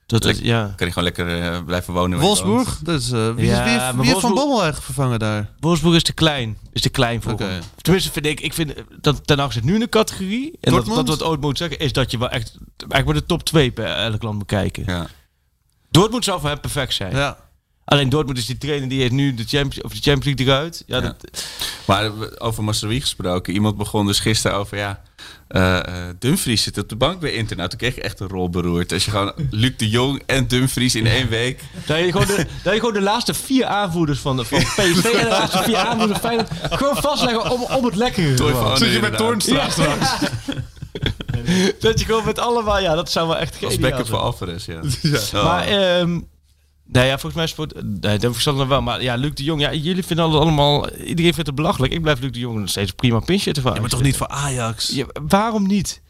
Dat, dat- Lek- ja. Kan je gewoon lekker eh, blijven wonen. waar je woont. Wolfsburg. Dus, eh, wie, is- Ja, wie, heeft- maar wie heeft Van Wolfsburg- Bommel eigenlijk vervangen daar? Wolfsburg is te klein. Is te klein voor Oké. hem. Tenminste, vind ik, ik vind eh, dat ten Hag zit nu in de categorie. En dat, Dortmund? dat wat Oud moet zeggen, is dat je wel echt eigenlijk maar de top 2 per elk land moet kijken. Ja. Dortmund zou voor hem perfect zijn. Ja. Alleen Dortmund is die trainer die heeft nu de Champions, of de Champions League eruit. Ja, Ja. Dat, Maar we- over Masserie gesproken. Iemand begon dus gisteren over, ja, eh, eh, Dumfries zit op de bank bij Inter. Nou, toen kreeg ik echt een rol beroerd. Als je <laughs> gewoon Luc de Jong en Dumfries in één week... Dat je, gewoon de, dat je gewoon de laatste vier aanvoerders van, <laughs> de- van PSV en de laatste vier aanvoerders van Feyenoord gewoon vastleggen om, om het lekkere. Toy gewoon. van Zit je met inderdaad. Toornstra <laughs> Dat je gewoon met allemaal, ja, dat zou wel echt Als geniaal backup voor zijn. Alvarez, ja. Oh. Maar, eh, ehm nou ja, volgens mij is het... Nee, dat zal nog wel. Maar ja, Luc de Jong, ja, jullie vinden het allemaal... Iedereen vindt het belachelijk. Ik blijf Luc de Jong nog steeds een prima pinchhitter van Ja, maar Ajax toch niet voor Ajax? vinden. Ja, waarom niet?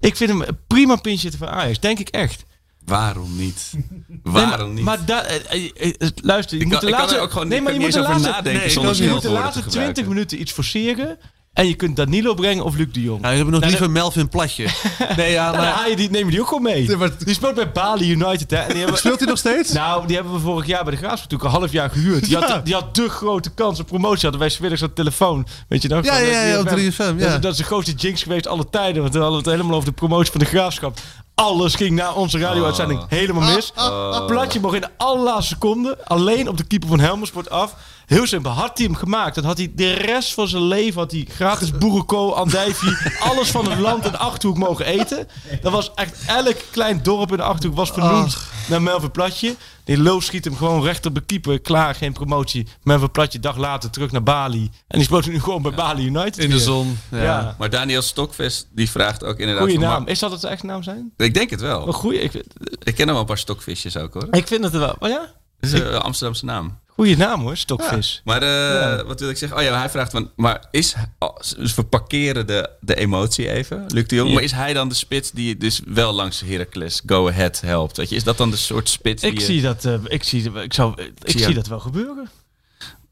Ik vind hem een prima pinchhitter van Ajax, denk ik echt. Waarom niet? Nee, Waarom maar, niet? Maar da- eh, eh, eh, luister, je Ik moet kan- de ik kan laatste... er ook gewoon- nee, ik maar je kan moet niet eens de over laatste... nadenken nee, zonder je moet de scheldwoorden laatste te 20 gebruiken. minuten iets forceren... en je kunt Danilo brengen of Luc de Jong. Nou, we hebben nog Nou, liever Melvin Platje. <laughs> nee, ja, Nou, dan maar... haal je die, neem je die ook gewoon mee. Ja, maar- Die speelt bij Bali United, hè. En die hebben, Speelt hij nog steeds? Nou, die hebben we vorig jaar bij de Graafschap natuurlijk een half jaar gehuurd. Die, Ja. had, die had de grote kans op promotie. Hadden wij smiddags aan de telefoon. Weet je nog? Ja, van, ja, eh, ja, op 3FM, ja. Dat, dat is de grootste jinx geweest alle tijden. Want we hadden het helemaal over de promotie van de Graafschap. Alles ging na onze radio-uitzending Ah, helemaal mis. Platje mocht in de allerlaatste seconde alleen op de keeper van Helmersport af. Heel simpel. Had hij hem gemaakt, dan had hij de rest van zijn leven had hij gratis boerenkool, <laughs> andijvie, alles van het land en Achterhoek mogen eten. Dat was echt elk klein dorp in de Achterhoek was vernoemd naar Melvin Platje. Die lul schiet hem gewoon recht op de keeper. Klaar, geen promotie. Melvin Platje dag later terug naar Bali. En die speelt nu gewoon bij Bali United In de weer. zon. Ja. ja. Maar Daniel Stokvest die vraagt ook inderdaad... Goeie van, naam. Is dat het eigen naam zijn? maar- Ik denk het Wel wel. goeie. Ik, vind- Ik ken hem wel een paar stokvisjes ook hoor. ik vind het wel. Maar ja, Dat is een eh, Amsterdamse naam. goeie naam hoor. Stokvis. Maar eh, wat wil ik zeggen? Oh ja, hij vraagt van... Maar is... Dus we parkeren de, de emotie even, Luc de Jong. Ja. Maar is hij dan de spits die dus wel langs Heracles Go Ahead helpt? Weet je, is dat dan de soort spits Ik die... je- zie dat, eh, ik zie, ik zou, ik zie zie hem. dat wel gebeuren.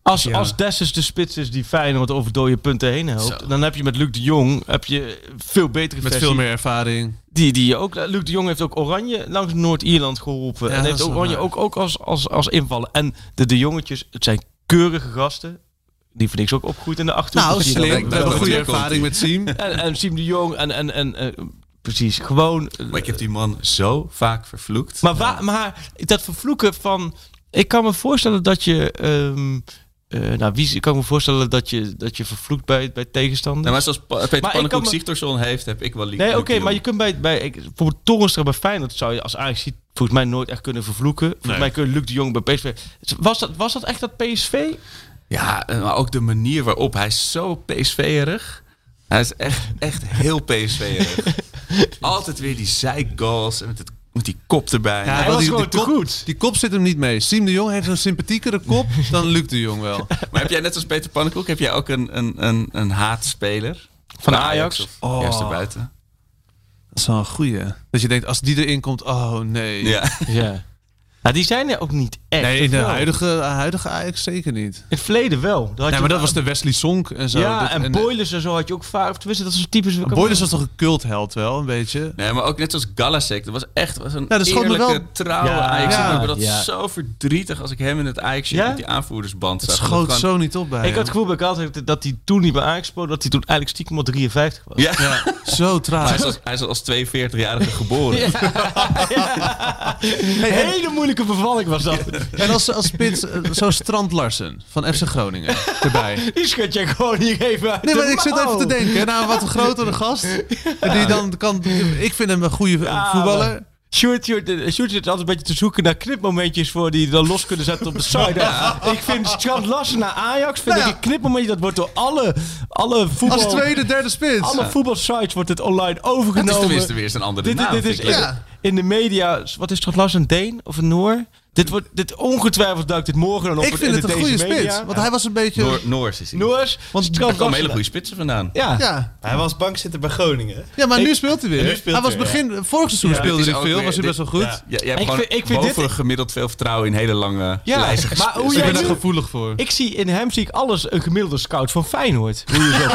Als, als Dessus de spits is die Feyenoord over dode punten heen helpt, Zo. dan heb je met Luc de Jong heb je veel betere Met versie. veel meer ervaring. Die, die je ook, eh, Luc de Jong heeft ook Oranje langs Noord-Ierland geholpen. Ja, en dat heeft is wel Oranje waar. ook, ook als, als, als invallen. En de de jongetjes, het zijn keurige gasten. Die vind ik ze ook opgegroeid in de achterhoek. Nou, Dat zie je slim. dan We ook. dat komt- hebben een goede dat komt- ervaring met Siem. En, en Siem de Jong en, en, en eh, precies, gewoon... eh, Maar ik heb die man zo vaak vervloekt. Maar, waar, maar dat vervloeken van. Ik kan me voorstellen dat je. ehm, eh, nou, wie ik kan me voorstellen dat je, dat je vervloekt bij, bij tegenstanders. Nou, maar zoals Pa- Peter Maar ik kan Pannenkoek me- Sigtorsson heeft, heb ik wel Luc nee, Luc oké, de Jong. maar je kunt bij, bij ik- bijvoorbeeld Torrenstra bij Feyenoord zou je als Ajax ziet volgens mij nooit echt kunnen vervloeken. Volgens mij kun je Luc de Jong bij PSV. Was dat, was dat echt dat PSV? Ja, en maar ook de manier waarop. Hij is zo PSV-erig. Hij is echt, echt heel PSV-erig. Altijd weer die zijgoals en met, het, met die kop erbij. Ja, Hij wel, was die- gewoon die te kop- goed. Die kop zit hem niet mee. Siem de Jong heeft een sympathiekere <laughs> kop dan Luc de Jong wel. Maar heb jij net als Peter Pannenkoek, heb jij ook een, een, een, een haatspeler? Van Bij Ajax? of Juist erbuiten. Dat is wel een goeie. Dat je denkt, als die erin komt, oh nee. Ja. Ja. Nou, die zijn er ook niet echt. Nee, in of de wel? huidige, huidige Ajax zeker niet. In het verleden wel. Daar had Nee, je maar dat wel- was de Wesley Sonk en zo. Ja, Dat- en, Boilers en zo had je ook vaak. Of tenminste, dat soort types. Boilers was toch een cultheld wel, een beetje? Nee, maar ook net zoals Galasek. Dat was echt was een Ja, dat schoot me eerlijke, wel- trouwe Ja, Ajax. ja, ik vond dat ja. zo verdrietig als ik hem in het Ajax Ja? met die aanvoerdersband Het zag. schoot Dat gewoon- zo niet op bij Ik had het hem. gevoel bij Galatasaray dat hij toen niet bij aangesproken, dat hij toen eigenlijk stiekem op 53 <laughs> was. Ja. <laughs> <laughs> Zo Hij traag. is als, hij is als 42-jarige geboren. Een hele moeilijke bevalling was dat. En als, als spits, eh, zo Strand Larsen van FC <laughs> Groningen erbij. Die schud je gewoon hier even uit Nee, maar de ik zit even te mouw. denken. Nou, wat een grotere gast. En die dan kan... Ik vind hem een goede Ja, voetballer. Sjoerd, Sjoerd, eh, Sjoerd zit altijd een beetje te zoeken naar knipmomentjes voor die dan los kunnen zetten op <laughs> de site. Ik vind Strand Larsen naar Ajax, vind Nou ja. ik een knipmomentje, dat wordt door alle, alle voetbal... Als tweede, derde spits. Alle voetbalsites wordt dit online overgenomen. Het is tenminste weer eens een andere Dit, dit, naam. dit vind is ik. in, in de media. Wat is toch Lars een Deen of een Noor? Dit wordt dit ongetwijfeld duikt dit morgen dan op. Ik vind in het een deze goede media. spits. Want hij was een beetje... Noor- Noors is hij. Noors. Want Strand Daar komen Larsen. hele goede spitsen vandaan. Ja. Ja. Hij was bankzitter bij Groningen. ja, maar nu speelt hij weer. nu speelt hij was hij, ja. begin... Vorig seizoen Dit speelde is hij ook veel. weer- Was hij best wel dit- goed. Dus Ja. Ja, jij hebt Ik gewoon vind- ik vind boven dit- gemiddeld veel vertrouwen in hele lange Ja. lijzige Maar hoe spitsen. Ik jij ben daar nu- gevoelig voor. Ik zie in hem zie ik alles een gemiddelde scout van Feyenoord. Hoe je zo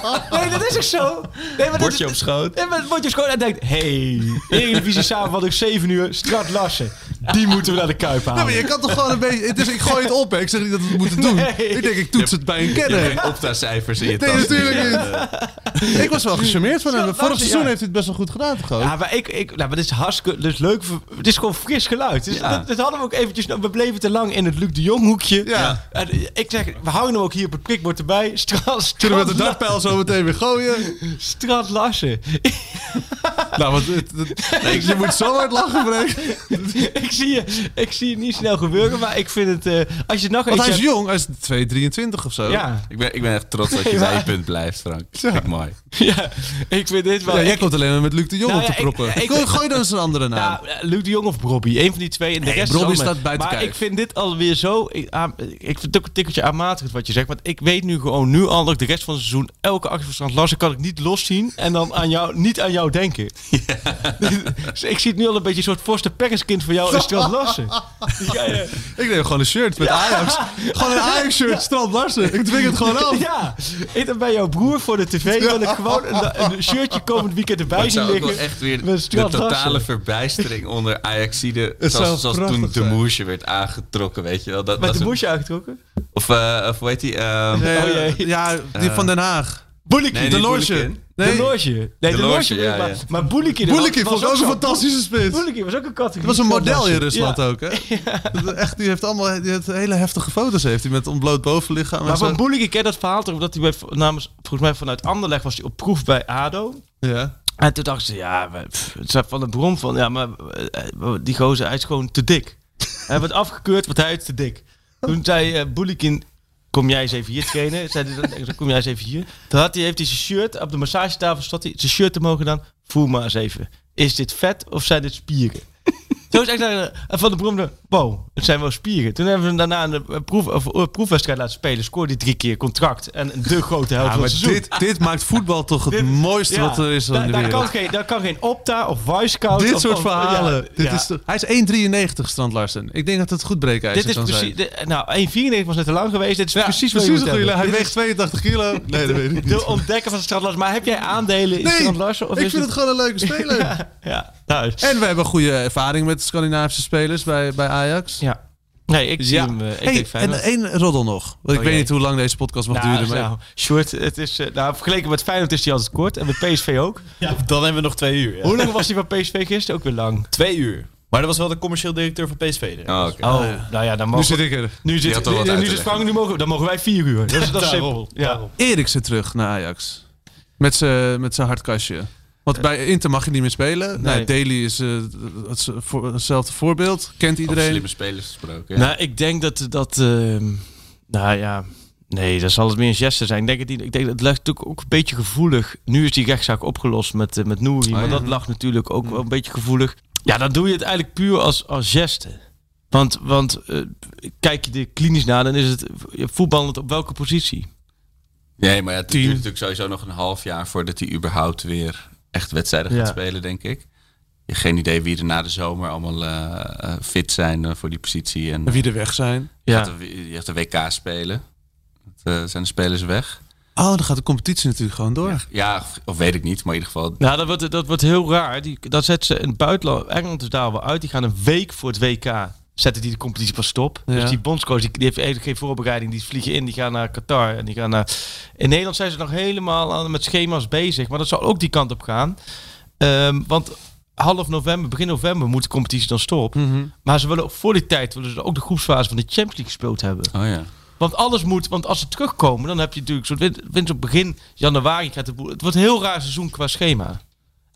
<laughs> komt. Nee, dat is echt zo. Nee, maar Bordje dat op is, schoot. Nee, maar het bordje op schoot en denkt, hey, Eredivisie samenvatting 7 uur, Strand Larsen. Die moeten we naar de Kuip halen. Ja, maar je kan toch gewoon een beetje... Het is, ik gooi het op, hè. Ik zeg niet dat we het moeten doen. Nee. Ik denk, ik toets het bij een Je kenner. hebt geen opta-cijfers in je <laughs> Nee, tas. natuurlijk niet. Ik was wel gecharmeerd van hem. Zo, Vorig dat- seizoen ja. heeft hij het best wel goed gedaan, gewoon. Ja, maar ik, ik, nou, maar dit is hartstikke dit is leuk. voor- Het is gewoon fris geluid. Dus Ja. dat, dat hadden we ook eventjes. nou, We bleven te lang in het Luc de Jong hoekje. Ja. En eh, ik zeg, we houden hem ook hier op het prikbord erbij. <laughs> Straat, Kunnen we straat, met de dartpijl zo meteen weer gooien? straat Larsen. <laughs> Nou, want het- het- je moet zo hard lachen, Freek. ik, zie je, ik zie het niet snel gebeuren, maar ik vind het... eh, als je het nog Want eens hij is hebt- jong, hij is 2,23 of zo. ja, Ik ben, ik ben echt trots dat je Nee, bij je maar- punt blijft, Frank. Vind ik mooi. <laughs> ja, ik vind dit wel... Ja, jij ik- komt alleen maar met Luc de Jong Nou op ja, te ik- proppen. ik- Gooi- Gooi dan eens een andere naam. Ja, eh, Luc de Jong of Bobby. Eén van die twee. En de Nee, rest Brobby allemaal. staat buiten Maar kijf. ik vind dit alweer zo... Ik, aan- ik vind het ook een tikkeltje aanmatigend wat je zegt. Want ik weet nu gewoon nu al dat ik de rest van het seizoen... elke actie van Strand Larsen kan ik niet loszien. En dan aan jou, niet aan jou denken. Dus ik zie het nu al een beetje een soort Forster Perkenskind voor jou en Strand Larsen. Ja, ja. Ik neem gewoon een shirt met Ajax. Gewoon een Ajax-shirt, Strand Larsen. Ik dwing het gewoon af. Ja, ik dan bij jouw broer voor de tv kan ik gewoon een, een shirtje komend weekend Maar erbij het zien zou ook wel liggen. echt weer de met Strand totale Larsen. <laughs> verbijstering onder Ajaxide. Het zou Zoals, zoals toen prachtig de zijn. moesje werd aangetrokken, weet je wel. Dat, Met dat de is een- moesje uitgetrokken? Of, eh, of hoe heet die? Ehm, Nee, <laughs> Oh, jee. Eh, ja, die van Den Haag. Boelikie. nee, De niet Loge. Boelikin. De Nee, Loge. Nee, de, De Loge. Loge, ja, maar ja. maar Boelikie. dat Boelikin was vond ik ook ook een zo'n- fantastische spits. Boelikie was ook een categorie. Het was een model in <laughs> Rusland Ja. ook, hè? Dat- Echt, die heeft allemaal die heeft hele heftige foto's heeft hij met ontbloot bovenlichaam. Maar en zo. van Boelikie, ik ken dat verhaal toch, omdat hij bij, namens, volgens mij vanuit Anderlecht was hij op proef bij ADO. Ja. En toen dachten ze, ja, we- pff, het staat van de bron van, ja, maar eh, eh, die gozer, hij is gewoon te dik. <laughs> hij wordt afgekeurd, want hij is te dik. Toen zei eh Boelikin, kom jij eens even hier trainen. Zei hij, dan, kom jij eens even hier. Toen had hij, heeft hij zijn shirt, op de massagetafel zat hij, zijn shirt te mogen dan. Voel maar eens even, is dit vet of zijn dit spieren? <laughs> Zo is echt eh, en van de Brom, wow, het zijn wel spieren. Toen hebben we hem daarna een eh, proef, of, eh, proefwedstrijd laten spelen. Scoorde hij drie keer contract. En de grote helft Ja, van maar het seizoen. dit, dit maakt voetbal toch het Dit- mooiste Ja, wat er is daar- in de daar wereld. Kan geen, daar kan geen Opta of Wisecout. Dit of- soort of- verhalen. ja, dit ja. Is toch- hij is 1,93 Strand Larsen. Ik denk dat het goed breekijzer dit kan is precies. zijn. dit- nou, 1,94 was net te lang geweest. Dit is precies wat je moet een goede. hebben. Hij Dit weegt 82 <laughs> kilo. Nee, dat weet ik is niet. De ontdekker van Strand Larsen. Maar heb jij aandelen in Nee, Strand Larsen? Of ik is vind het gewoon een leuke speler. Ja, nou, thuis. <laughs> En we hebben goede ervaring met Scandinavische spelers bij, bij Ajax. Ja. Nee, ik zie Ja. hem. eh, ik Hey, denk en Feyenoord. één roddel nog. Want ik Oh, weet jee. niet hoe lang deze podcast mag nou, duren. Maar nou, Sjoerd, het is, eh, nou, vergeleken met Feyenoord is hij altijd kort. En met PSV ook. Dan hebben we nog twee uur. ja. Hoe lang was hij bij PSV gisteren? Ook weer lang. Twee uur. Maar dat was wel de commercieel directeur van PSV. er. Oh, oké. Oh, nou ja, dan nu mogen zit ik er. Nu zit, had al wat nu- nu uit te zit leggen. Frank, nu mogen, dan mogen wij vier uur. Dat <laughs> is, dat is Daarom, simpel. Ja. daarom. Eriksen terug naar Ajax. Met zijn met zijn hardkastje. Want bij Inter mag je niet meer spelen. Nee. Nee, Daly is eh, het, voor- hetzelfde voorbeeld. Kent Over iedereen. slimme spelers gesproken. ja. Nou, ik denk dat dat. ehm, nou ja. Nee, dat zal het meer een geste zijn. Ik denk, het, niet. ik denk dat het ligt natuurlijk ook een beetje gevoelig. Nu is die rechtszaak opgelost met, eh, met Nouri. maar dat lag natuurlijk ook wel een beetje gevoelig. Ja, dan doe je het eigenlijk puur als, als geste. Want, want eh, kijk je er klinisch naar, dan is het eh, voetballend op welke positie? Nee, maar ja, het Tien. duurt natuurlijk sowieso nog een half jaar voordat hij überhaupt weer echt wedstrijden Ja. gaat spelen, denk ik. geen idee wie er na de zomer allemaal eh, eh, fit zijn eh, voor die positie. En, En wie er weg zijn. je, Ja. gaat de, je gaat de WK spelen. Dat, eh, zijn de spelers weg? Oh, dan gaat de competitie natuurlijk gewoon door. Ja, of, of weet ik niet. Maar in ieder geval, Nou, dat wordt, dat wordt heel raar. Die, dat zetten ze in het buitenland. Engeland is daar wel uit. Die gaan een week voor het WK. Zetten die de competitie pas stop. Ja. Dus die bondscoach die, die heeft eigenlijk geen voorbereiding. Die vliegen in, die gaan naar Qatar. En die gaan naar... In Nederland zijn ze nog helemaal aan, met schema's bezig. Maar dat zou ook die kant op gaan. Ehm, want half november, begin november moet de competitie dan stop. Maar ze willen ook voor die tijd willen ze ook de groepsfase van de Champions League gespeeld hebben. oh ja. Want alles moet, want als ze terugkomen, dan heb je natuurlijk zo'n win- winst op begin januari. Gaat de boel, het wordt een heel raar seizoen qua schema.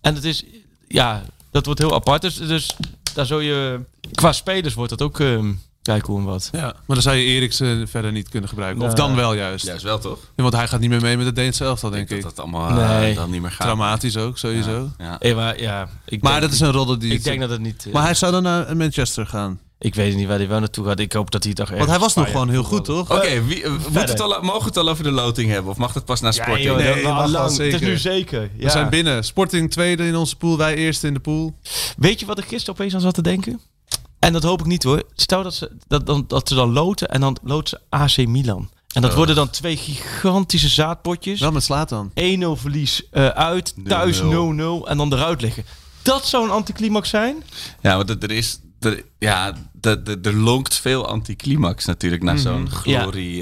En het is, ja, dat wordt heel apart. Dus, dus daar zou je, qua spelers wordt dat ook, ehm kijk hoe en wat. Ja, maar dan zou je Eriksen verder niet kunnen gebruiken. Of Nee. dan wel juist. Juist wel toch? Ja, want hij gaat niet meer mee met het Deense elftal, Ik denk denk ik. dat dat allemaal eh, Nee. dan niet meer gaat. Dramatisch ook, sowieso. Ja. Eh, maar ja, ik Maar denk, dat is een rodde die... ik denk dat het niet, eh, Maar hij zou dan naar Manchester gaan. ik weet niet waar hij wel naartoe gaat. Ik hoop dat hij toch ergens... Want hij was nog Bayern gewoon heel goed, voetbalt. toch? Oké, wie- eh, moet het al- mogen we het al over de loting hebben? Of mag dat pas na Ja, sporting? joh, Nee, dat- mag al wel lang. Het is zeker. nu zeker. We Ja. zijn binnen. Sporting tweede in onze pool, wij eerste in de pool. Weet je wat ik gisteren opeens aan zat te denken? En dat hoop ik niet hoor. Stel dat ze, dat, dan, dat ze dan loten en dan loten ze AC Milan. En Oh. dat worden dan twee gigantische zaadpotjes. Wel met Slatan. 1-0 verlies eh, uit, thuis 0-0 en dan eruit liggen. Dat zou een anticlimax zijn. Ja, want er- er is. Er, ja, er, er- er lonkt veel anticlimax natuurlijk na Mhm. zo'n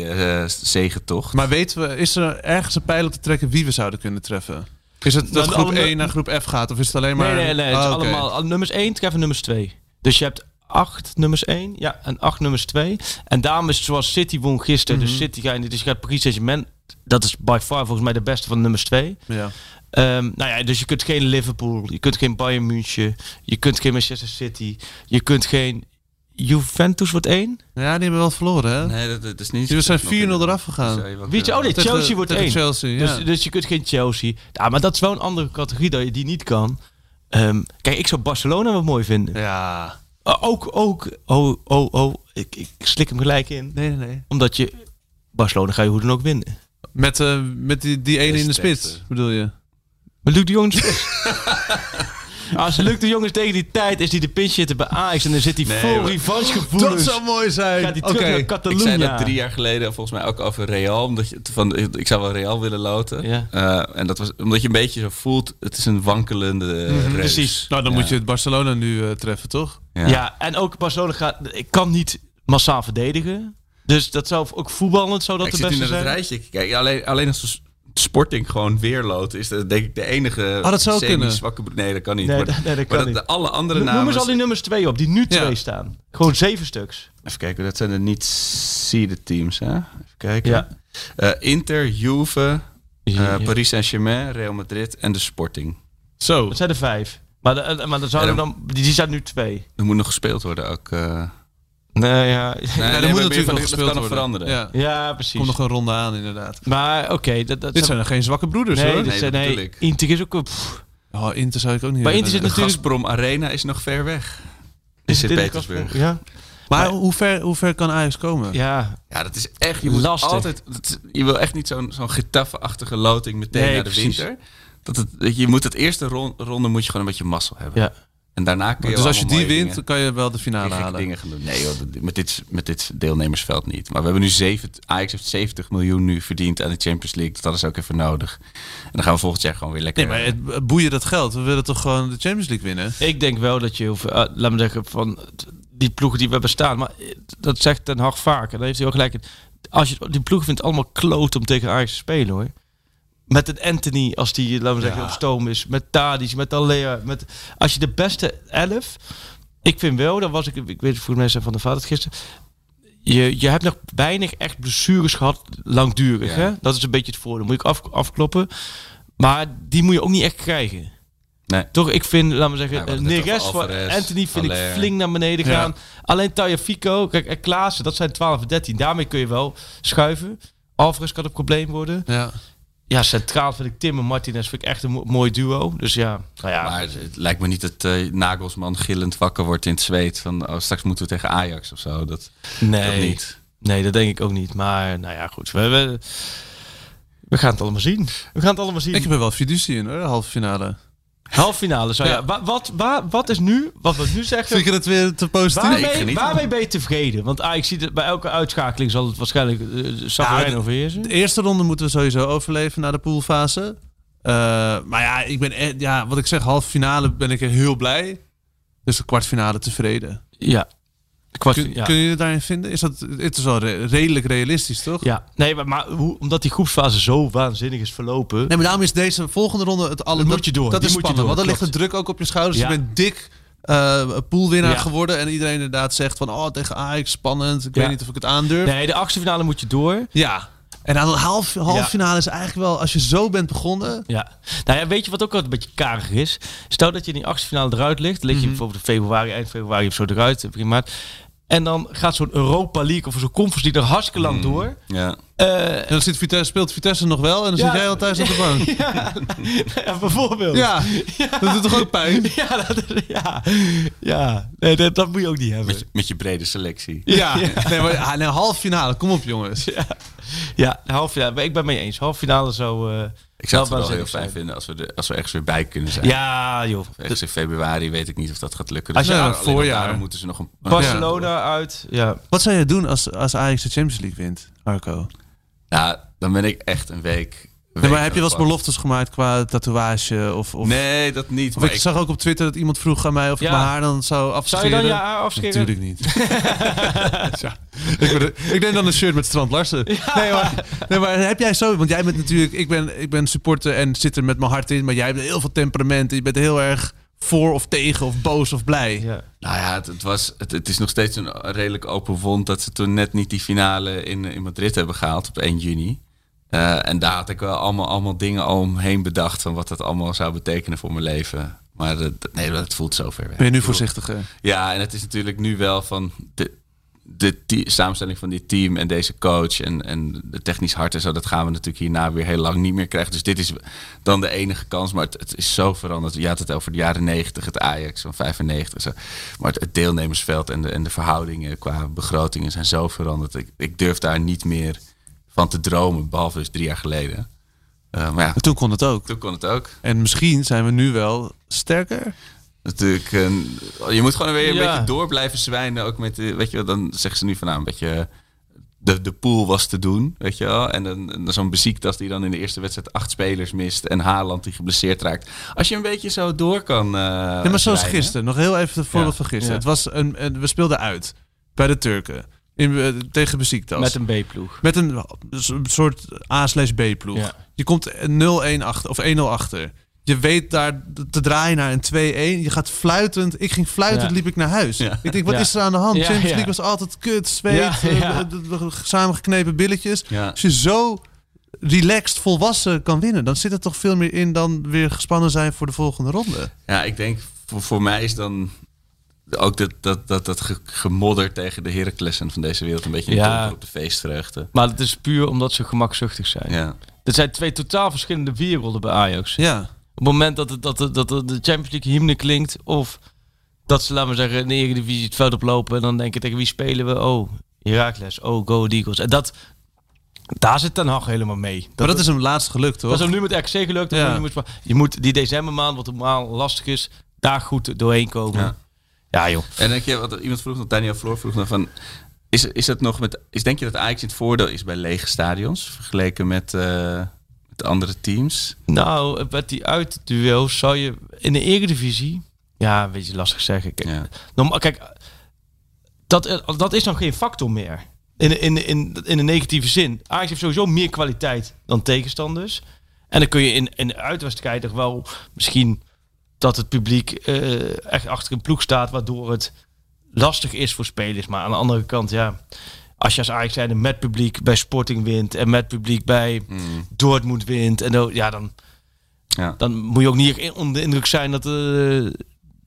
eh, glorie-zegentocht. Maar weten we, is er ergens een pijl op te trekken wie we zouden kunnen treffen? Is het dat Nou, de groep alle- 1 naar groep F gaat? Of is het alleen maar... nee, nee, nee. Het is Ah, oké. allemaal al- nummers 1 treffen nummers 2. Dus je hebt 8 nummers 1 ja, en 8 nummers 2. En daarom is het zoals City won gisteren. Mhm. Dus City ga je, dus je gaat Paris Saint-Germain. Dat is by far volgens mij de beste van de nummers 2. Ja. Ehm, nou ja, dus je kunt geen Liverpool, je kunt geen Bayern München, je kunt geen Manchester City, je kunt geen Juventus wordt één. ja, die hebben wel verloren, hè? Nee, dat, dat is niet. eh, Die zijn nog 4-0 in- eraf gegaan. zou je wel Weet je, kunnen- oh nee, Tegen- Chelsea wordt tegen één. Chelsea, ja. Dus, dus je kunt geen Chelsea. Ja, maar dat is wel een andere categorie dat je die niet kan. Ehm, kijk, ik zou Barcelona wel mooi vinden. Ja. Eh, ook, ook, oh, oh, oh, ik, ik slik hem gelijk in. Nee, nee, nee. Omdat je, Barcelona ga je hoe dan ook winnen. Met, eh, met die, die ene in de Destijds, spits, eh. bedoel je? Maar Luc de Jong is <laughs> Als Luc de Jong is tegen die tijd, is die de pinch zitten bij Ajax. En dan zit hij vol maar- Dat revanchegevoelens. zou mooi zijn! Gaat hij Oké. terug naar Ik zei dat drie Catalonia. jaar geleden volgens mij ook over Real. Omdat je, van, ik zou wel Real willen loten. Ja. Eh, en dat was omdat je een beetje zo voelt. Het is een wankelende. eh, reus. Mhm, Precies. Nou, dan Ja. moet je het Barcelona nu eh, treffen, toch? Ja. Ja. en ook Barcelona gaat... Ik kan niet massaal verdedigen. Dus dat zou ook voetballend zou dat ik de zit nu beste naar het zijn. rijtje. Kijk, alleen, alleen als we Sporting gewoon weer loten, is dat denk ik de enige. Oh, Ah, dat zou kunnen. Zwakke, nee, dat kan niet. <laughs> Nee, maar dat- nee, dat maar kan de alle andere Noem namen. eens al die nummers twee op, die nu Ja. twee staan. Gewoon zeven stuks. Even kijken, dat zijn de niet-seeded teams, hè? Even kijken. Ja. Eh, Inter, Juve, eh, Paris Saint-Germain, Real Madrid en de Sporting. Zo. Dat zijn er vijf. Maar, de, eh, maar dan zouden Ja, dan- dan, die, die zijn nu twee. Er moet nog gespeeld worden ook. eh. Nee, Nee, ja. Ja, nee, er maar moet meer natuurlijk van- nog dat gespeeld kan nog worden. veranderen. Ja. <laughs> ja, precies. Komt nog een ronde aan, inderdaad. Maar oké, dat, dat Dit zijn er geen zwakke broeders, Nee, hoor. dit Nee, zijn- dat nee, bedoel ik. Inter is ook... pff, Oh, Inter zou ik ook niet Maar willen. Inter zit De natuurlijk... Gazprom Arena is nog ver weg. In dit de Sint-Petersburg. Gazprom? Ja, Maar hoe ver, hoe ver kan Ajax komen? Dus ja Ja, dat is echt. Je moet Lastig. altijd. dat- je wil echt niet zo'n zo'n getaffe-achtige loting meteen Nee, naar de precies. winter. Dat het, dat je moet het eerste ron- ronde moet je gewoon een beetje mazzel hebben. Ja. En daarna kun je. Dus als je allemaal die mooie wint, dingen- dan kan je wel de finale gekke halen. dingen gaan doen. Nee, joh, dat- met, dit, met dit deelnemersveld niet. Maar we hebben nu 7, Ajax heeft 70 miljoen nu verdiend aan de Champions League. Dat hadden ze ook even nodig. En dan gaan we volgend jaar gewoon weer lekker. eh, Nee, maar het het boeien dat geld. We willen toch gewoon de Champions League winnen? Ik denk wel dat je, heel veel- eh, laat me zeggen, van t- die ploegen die we bestaan. Maar eh, dat zegt Ten Hag vaak. En daar heeft hij ook gelijk. in. Als je die ploeg vindt allemaal kloot om tegen Ajax te spelen hoor. Met een Anthony, als die, laten we zeggen, op stoom is. Met Tadic, met Alea. Met, als je de beste elf... Ik vind wel, dat was ik... Ik weet het, volgens mij zei Van de Vader het gisteren. Je, je hebt nog weinig echt blessures gehad langdurig. Ja. Hè? Dat is een beetje het voordeel. Moet ik af, afkloppen. Maar die moet je ook niet echt krijgen. Nee. Toch, ik vind, laten we Ja, zeggen, we eh, hadden het net Neres over voor Alvarez, Anthony vind Haller. ik flink naar beneden Ja. gaan. Alleen Taya Fico, kijk, en Klaassen, dat zijn 12 en 13. Daarmee kun je wel schuiven. Alvarez kan een probleem worden. Ja. Ja, centraal vind ik Tim en Martinez vind ik echt een mo- mooi duo. Dus ja, nou ja. Maar het lijkt me niet dat eh, Nagelsman gillend wakker wordt in het zweet. Van oh, straks moeten we tegen Ajax of zo. Dat, dat nee, niet. nee, dat denk ik ook niet. Maar nou ja, goed. We, we, we gaan het allemaal zien. We gaan het allemaal zien. Ik heb er wel fiducie in, hoor, de halve finale. Half finale zou je. Ja. Wa- wat, wa- wat is nu, wat we nu zeggen, Vind je dat weer te positief? Nee, ik waarmee, geniet waarmee ben je tevreden? Want ah, ik zie dat bij elke uitschakeling zal het waarschijnlijk uh, Savarijn Ja, overheersen. De eerste ronde moeten we sowieso overleven na de poolfase. Eh, maar ja, ik ben echt, ja, wat ik zeg, halve finale ben ik heel blij. Dus de kwartfinale tevreden. Ja. Kwart, Kun, ja. Kun je je daarin vinden? Is dat, het is wel re- redelijk realistisch, toch? ja. Nee, maar, maar hoe, omdat die groepsfase zo waanzinnig is verlopen. Nee, maar daarom is deze volgende ronde het alle. Dan dat- moet je door, Dat die is moet je spannend. door, Want dan ligt klopt. de druk ook op je schouders. Ja. Je bent dik eh poolwinnaar Ja. geworden. En iedereen inderdaad zegt van, oh, tegen Ajax, spannend. Ik Ja. weet niet of ik het aandurf. Nee, de achtste finale moet je door. Ja. En aan de half, half finale is eigenlijk wel, als je zo bent begonnen... Ja. Nou ja, weet je wat ook altijd een beetje karig is? Stel dat je in die achtste finale eruit ligt. Mhm. Lig je bijvoorbeeld in februari, eind februari of zo eruit, begin maart. En dan gaat zo'n Europa League of zo'n Conference League er hartstikke lang Mhm. door. <laughs> Ja. Eh, En dan zit Vitesse, speelt Vitesse nog wel en dan Ja. zit jij al thuis op de bank. <laughs> ja, nou ja, bijvoorbeeld. Ja, <laughs> dat doet toch ook pijn? <laughs> Ja, dat, ja. ja. Nee, dat, dat moet je ook niet hebben. Met, je, met je brede selectie. <laughs> Ja, Nee, maar, ah, nee, half finale, kom op jongens. Ja, de halve finale. Maar Ik ben mee eens. Halve finale zo. eh, Ik zou het wel heel waanzinnig fijn zijn. vinden als we, de, als we ergens weer bij kunnen zijn. Ja, joh. Ergens in februari weet ik niet of dat gaat lukken. Als je Dus aan- alleen al voorjaar. daarom moeten ze nog een... Barcelona uit. Ja. <laughs> Wat zou jij doen als, als Ajax de Champions League wint, Marco? Nou, dan ben ik echt een week... Nee, week maar heb je wel eens apart. beloftes gemaakt qua tatoeage of... of Nee, dat niet. Of maar ik, ik- zag ook op Twitter dat iemand vroeg aan mij of ik Ja. mijn haar dan zou Zou je afscheren. dan je haar afscheren? Natuurlijk niet. <laughs> Tja, ik, ben- ik neem dan een shirt met Strand Larsen. Nee, <laughs> maar, nee, maar heb jij zo... Want jij bent natuurlijk... Ik ben, ik ben supporter en zit er met mijn hart in. Maar jij hebt heel veel temperament. en Je bent heel erg voor of tegen of boos of blij. Ja. Nou ja, het, het was, het, het is nog steeds een redelijk open wond dat ze toen net niet die finale in, eh, in Madrid hebben gehaald op 1 juni. Eh, en daar had ik wel allemaal, allemaal dingen al omheen bedacht van wat dat allemaal zou betekenen voor mijn leven. Maar dat- nee, dat voelt zo ver weg. Ben je nu eh? voorzichtiger? Ja, en het is natuurlijk nu wel van de, de te- samenstelling van dit team en deze coach en, en de technisch hart en zo. Dat gaan we natuurlijk hierna weer heel lang niet meer krijgen. Dus dit is dan de enige kans. Maar het, het is zo veranderd. Je had het over de jaren 90, het Ajax van 95. Zo. Maar het, het deelnemersveld en de, en de verhoudingen qua begrotingen zijn zo veranderd. Ik, ik durf daar niet meer van te dromen, behalve dus drie jaar geleden. Eh, maar ja, Toen kon het ook. toen kon het ook. En misschien zijn we nu wel sterker. Natuurlijk, eh, je moet gewoon weer een Ja. beetje door blijven zwijnen. Ook met, de- weet je wel, dan zeggen ze nu van nou, een beetje, de, de pool was te doen, weet je wel. En dan, en dan zo'n beziektas die dan in de eerste wedstrijd acht spelers mist en Haaland die geblesseerd raakt. Als je een beetje zo door kan eh Nee, maar zoals zwijnen. gisteren. Nog heel even het voorbeeld Ja. van gisteren. Ja. Het was een, een- we speelden uit bij de Turken. In, eh, tegen Besiktas. Met een B-ploeg. Met een s- soort A slash B ploeg. Ja. Je komt 0-1 achter of 1-0 achter. Je weet daar te draaien naar een 2-1. Je gaat fluitend. Ik ging fluitend, Ja. liep ik naar huis. Ja. Ik denk, wat Ja. is er aan de hand? Ja, Champions ja. League was altijd kut, zweet, Ja, eh, ja. eh, eh, samengeknepen billetjes. Ja. Als je zo relaxed, volwassen kan winnen, dan zit er toch veel meer in dan weer gespannen zijn voor de volgende ronde. Ja, ik denk voor, voor mij is dan ook dat, dat, dat, dat ge- gemodder tegen de Heraclessen van deze wereld een beetje Ja. een domper op de feestvreugde. Maar dat is puur omdat ze gemakzuchtig zijn. Ja. Dat zijn twee totaal verschillende werelden bij Ajax. Ja. Op het moment dat, het, dat, het- dat het de Champions League hymne klinkt... of dat ze, laten we zeggen, in de Eredivisie het veld oplopen... en dan denken tegen wie spelen we? Oh, Heracles. Oh, Go Ahead Eagles. En dat, daar zit Ten Hag helemaal mee. Dat, maar dat is hem laatst gelukt, dat toch? is hem nu met RKC gelukt. dat Ja. moet Je, moet, maar- je moet die decembermaand, wat normaal lastig is... daar goed doorheen komen. Ja. Ja, joh. En denk je, wat iemand vroeg nog, Daniel Floor vroeg nog van. Is, is dat nog met, is, denk je dat Ajax in het voordeel is bij lege stadions vergeleken met, eh, met andere teams? Nou, met die uitduel zou je in de Eredivisie... Ja, een beetje lastig zeggen. Kijk, Ja. Norma- kijk, dat, dat is dan geen factor meer. In, in, in, in een negatieve zin. Ajax heeft sowieso meer kwaliteit dan tegenstanders. En dan kun je in, in de uitwedstrijd toch wel misschien dat het publiek eh, echt achter een ploeg staat, waardoor het lastig is voor spelers. Maar aan de andere kant, ja, als je als Ajax zijnde met publiek bij Sporting wint en met publiek bij Dortmund wint, en dan, ja, dan, Ja. dan moet je ook niet echt onder de indruk zijn dat, eh,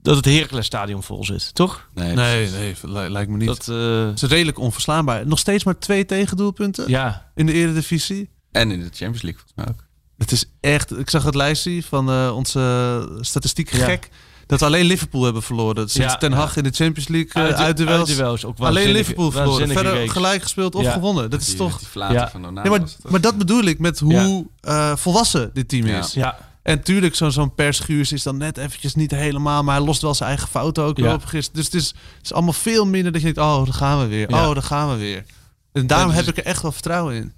dat het Heracles Stadion vol zit, toch? Nee. Nee, nee, li- lijkt me niet. Dat, eh, Het is redelijk onverslaanbaar. Nog steeds maar twee tegendoelpunten ja. in de Eredivisie. En in de Champions League volgens mij ook. Het is echt... Ik zag het lijstje van eh, onze statistiek Ja. gek. Dat we alleen Liverpool hebben verloren. Sinds Ja, Ten ja. Hag in de Champions League eh, uit de Uitduels ook Alleen waanzinnige- Liverpool verloren. waanzinnige Verder reeks. gelijk gespeeld of Ja. gewonnen. Dat is Die- toch... Die flater Ja. van Onana Nee, maar, was het ook. maar dat bedoel ik met hoe eh, volwassen dit team Ja. is. Ja. En tuurlijk, zo'n zo'n persguurs is dan net eventjes niet helemaal... maar hij lost wel zijn eigen fouten ook wel Ja. op gisteren. Dus het is, het is allemaal veel minder dat je denkt... oh, daar gaan we weer, Ja. oh, daar gaan we weer. En daarom Ja, dus- heb ik er echt wel vertrouwen in.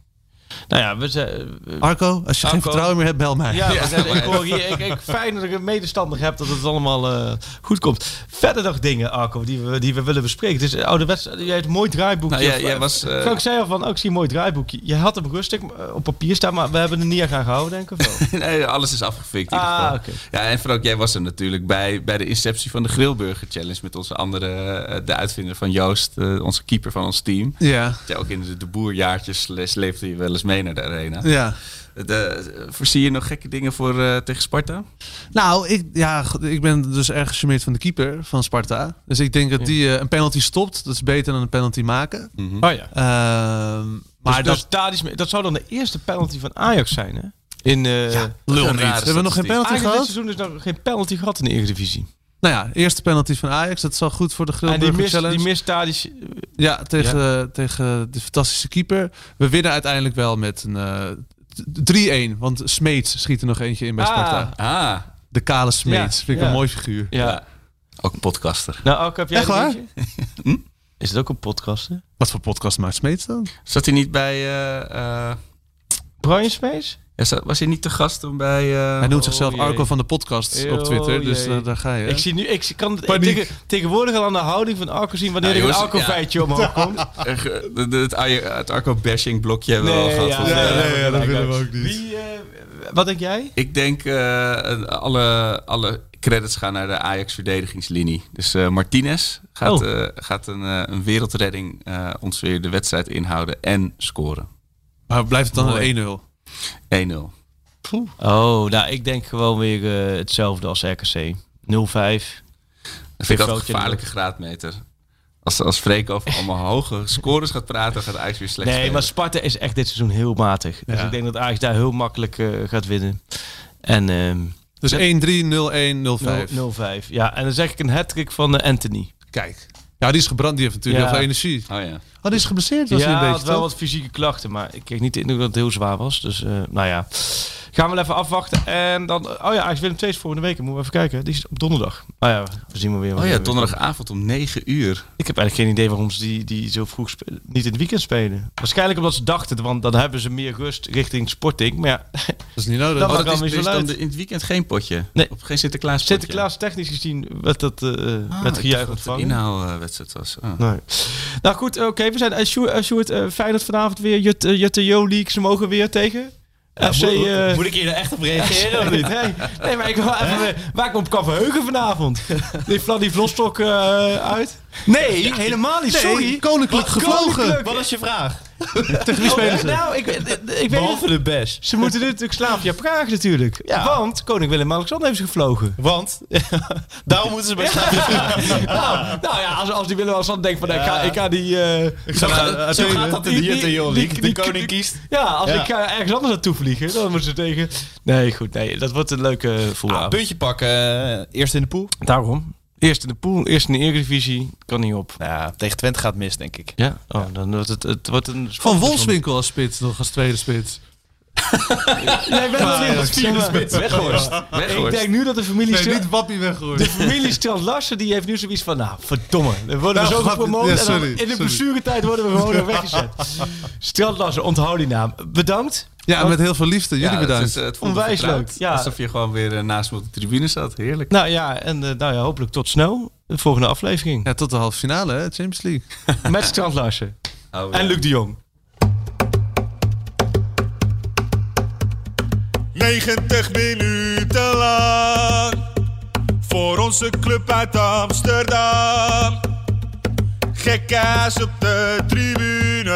Nou ja, we zijn... eh, Arco, als je geen Arco. vertrouwen meer hebt, bel mij. Ja, Ja, we zijn- maar- ik hoor hier, ik, ik, fijn dat ik een medestander heb, dat het allemaal eh, goed komt. Verder nog dingen, Arco, die we, die we willen bespreken. Dus oude wedstrijd, jij hebt een mooi draaiboekje. Nou, jij, Of, jij eh, was... eh, Frank zei al van, oh, ik zie een mooi draaiboekje. Je had hem rustig eh, op papier staan, maar we hebben er niet aan gaan gehouden, denk ik. Of <laughs> wel? nee, alles is afgefikt. In ieder Ah, geval. oké. Ja, en Frank, jij was er natuurlijk bij, bij de inceptie van de Grillburger Challenge. Met onze andere, eh, de uitvinder van Joost, eh, onze keeper van ons team. Ja, Ja, ook in de, de boerjaartjes les- leefde je wel eens mee naar de arena. ja. De, voorzie je nog gekke dingen voor eh, tegen Sparta? Nou, ik, ja, goed, ik ben dus erg gecharmeerd van de keeper van Sparta. Dus ik denk dat die eh, een penalty stopt. Dat is beter dan een penalty maken. Oh ja. Ehm, maar Maar dus, dat... dus Tadić mee- dat zou dan de eerste penalty van Ajax zijn, hè? In eh Lul niet. Hebben we nog geen penalty Ajax dit gehad? seizoen dus is nog geen penalty gehad in de Eredivisie. Nou ja, eerste penalty van Ajax. Dat is al goed voor de En Ah, die Grilburger mist, Challenge. die mist Tadić, eh, Ja, tegen, tegen de fantastische keeper. We winnen uiteindelijk wel met een eh, 3-1. Want Smeets schiet er nog eentje in bij Ah. Sparta. Ah, De kale Smeets. Ja, Vind ik ja. een mooi figuur. ja. Ja. ook een podcaster. Nou, Arco, heb jij Echt een waar? beetje? <laughs> Hm? Is het ook een podcast, hè? Wat voor podcast maakt Smeets dan? Zat hij niet bij... eh, eh, Brian Smees? ja, zat- was hij niet te gast toen bij... eh, Hij noemt oh, zichzelf jee. Arco van de podcast op Oh, Twitter. Dus jee. eh, daar ga je. Ik zie nu, ik kan het Paniek. tegen- tegenwoordig al aan de houding van Arco zien wanneer Ja, er een jongens, Arco-feitje omhoog komt. Eh, ge- de- de- het, Aja- het Arco-bashing blokje hebben we al gehad. volgens mij. ja, nee, ja, dat willen we ook niet. Wie, eh, wat denk jij? Ik denk eh, alle, alle credits gaan naar de Ajax-verdedigingslinie. Dus eh, Martinez gaat, Oh. eh, gaat een, eh, een wereldredding eh, ons weer de wedstrijd inhouden en scoren. 1-0. Maar blijft het dan Mooi. een 1-0? Oh, nou, ik denk gewoon weer eh, hetzelfde als RKC. 0-5. Dat vind ik altijd een Foutje gevaarlijke graadmeter. Als, als Freek over <laughs> allemaal hoge scores gaat praten, gaat Ajax weer slecht Nee, spelen. maar Sparta is echt dit seizoen heel matig. Dus Ja. ik denk dat Ajax daar heel makkelijk eh, gaat winnen. En ehm, Dus Ja. 1-3, 0-1, 0-5. 0-5. Ja, en dan zeg ik een hat-trick van eh, Anthony. Kijk. Ja, die is gebrand. Die heeft natuurlijk Ja. heel veel energie. Oh ja. Oh, die is geblesseerd was hij ja, een had beetje, wel toch? wat fysieke klachten, maar ik kreeg niet de indruk dat het heel zwaar was. Dus eh, nou ja, gaan we wel even afwachten. En dan, oh ja, Ajax Willem II is volgende week. Moeten we even kijken. Die is op donderdag. Nou ja, we zien wel weer. Oh wanneer ja, we- donderdagavond om 9 Oh, uur. Ik heb eigenlijk geen idee waarom ze die, die zo vroeg spelen, niet in het weekend spelen. Waarschijnlijk omdat ze dachten, want dan hebben ze meer rust richting Sporting. Maar ja, Dat is niet nodig. Dat Oh, dat mag is, allemaal er niet is zo dan luid. de- in het weekend geen potje? Nee. Op geen Sinterklaas potje? Sinterklaas technisch gezien werd dat eh, Ah, met ik dacht gejuich dat het een ontvangen. inhaalwedstrijd was. Ah. Nee. Nou goed, oké, we zijn. eh, Sjoerd, eh, Sjoerd, eh, Feyenoord vanavond weer. Jut, eh, Jutte Jo League, ze mogen weer tegen. FC, moet, eh, moet ik hier nou echt op <laughs> reageren of <laughs> Nee, niet? nee, nee, maar ik wil even eh, waar ik me op kan verheugen vanavond. Die Vladi Vlostok eh, uit. Nee, helemaal niet. Sorry. koninklijk gevlogen. Wat is je <laughs> vraag? Oh, nou, ik, ik, ik weet Behalve het. de best. Ze moeten nu natuurlijk slaapje Praag natuurlijk. Ja. Want koning Willem-Alexander heeft gevlogen. Want <laughs> daarom moeten ze bij slapen. nou, nou ja, als, als die Willem-Alexander denkt van ik, ga, ik ga die... eh, Zo gaat- zo gaat dat in de Die- die- JTO die- League. De die- koning kiest. Ja, als Ja. ik ga ergens anders naartoe vliegen, dan moeten ze tegen. Nee, goed, nee, dat wordt een leuke eh, Ah, voetbal. puntje pakken. eh, Eerst in de pool. Daarom. Eerst in de pool, eerst in de Eredivisie, kan niet op. Ja, Nou, tegen Twente gaat mis, denk ik. Ja, oh, dan wordt het, het wordt een. Van Wolfswinkel als spits, nog als tweede spits. Jij bent wel in het vierde spits. Weghorst. Ik Weghorst. denk nu dat de familie. Nee, Stel- niet Wappie weggooien. de familie Strand Larsen die heeft nu zoiets van, nou verdomme, we worden Nou, zo grap- gepromoot ja, en dan sorry, in de sorry. blessuretijd worden we gewoon weer <laughs> weggezet. Strand Larsen, onthoud die naam. Bedankt. Ja, met heel veel liefde. Jullie Ja, bedankt. Het, is, eh, het voelde Onwijs vertrouwd. leuk, ja. Alsof je gewoon weer eh, naast me op de tribune zat. Heerlijk. Nou ja, en eh, nou ja, hopelijk tot snel. De volgende aflevering. <laughs> Ja, tot de halve finale, hè, Champions League. Met Strand Larsen Oh, ja. en Luc de Jong. 90 minuten lang. Voor onze club uit Amsterdam. Gekkaas op de tribune.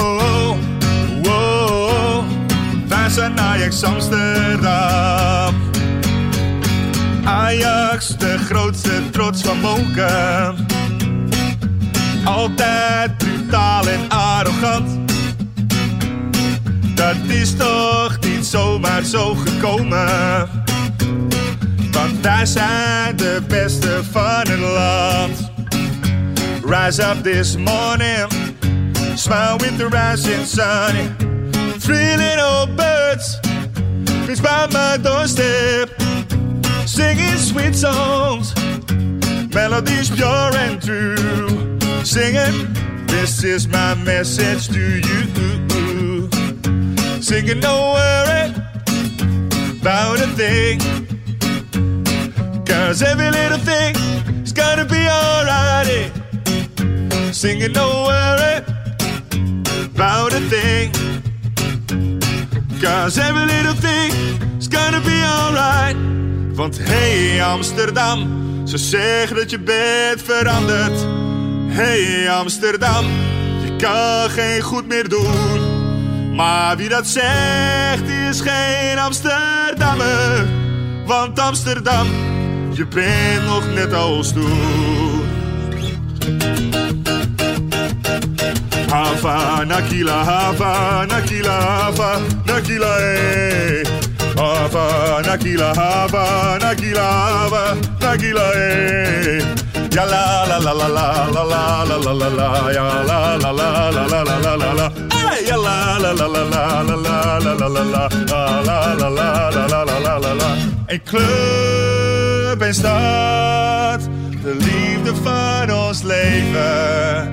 oh, oh, oh. Wij zijn Ajax Amsterdam. Ajax. Ajax de grootste trots van Monken. Altijd brutaal en arrogant. Dat is toch niet zomaar zo gekomen. Want wij zijn de beste van het land. Rise up this morning. Smile with the rising sun. Three little birds. It's by my doorstep. Singing sweet songs. Melodies pure and true. Singing. This is my message to you. Singing, no worry about a thing. Cause every little thing is gonna be alright. eh? Singing, no worry about a thing. Cause every little thing is gonna be alright. Want hey Amsterdam, ze zeggen dat je bent veranderd. Hey Amsterdam, je kan geen goed meer doen. Maar wie dat zegt is geen Amsterdammer. Want Amsterdam, je bent nog net als toen. Havana, Kila, Havana, Kila, Havana, Kila, eh. Havana, Kila, Havana, Kila, Havana, Kila, eh. Ja la la la la la la la la la la la ja la la la la la la la la la Eh, ja la la la la la la la la la la la Ah, la la la la la la la la la Een club en stad, de liefde van ons leven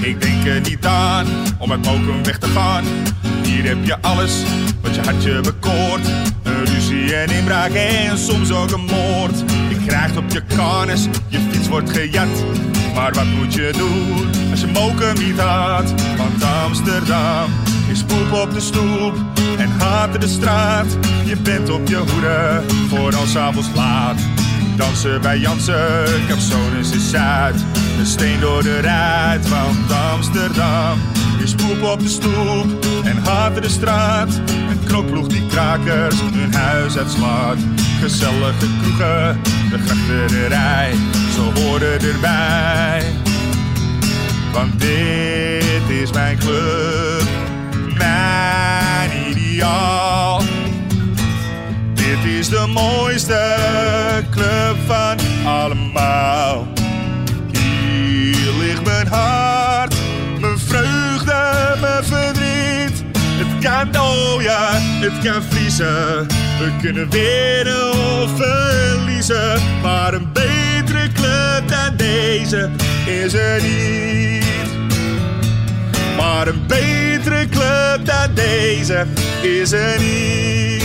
Ik denk er niet aan om uit Mokum weg te gaan. Hier heb je alles wat je hartje bekoort. Een ruzie en inbraak en soms ook een moord. Je krijgt op je karnes, je fiets wordt gejat. Maar wat moet je doen als je Mokum niet had? Want Amsterdam is poep op de stoep en haat de straat. Je bent op je hoede voor als avonds laat. Dansen bij Jansen, Capsones is Zuid. Een steen door de ruit, want Amsterdam is poep op de stoep en haat de straat. Een knokploeg die krakers hun huis uitslaat. Gezellige kroegen, de grachterij, ze horen erbij. Want dit is mijn club, mijn ideaal. Dit is de mooiste club van allemaal. Hier ligt mijn hart, mijn vreugde, mijn verdriet. Het kan, oh ja, het kan vriezen. We kunnen winnen of verliezen. Maar een betere club dan deze is er niet. Maar een betere club dan deze is er niet.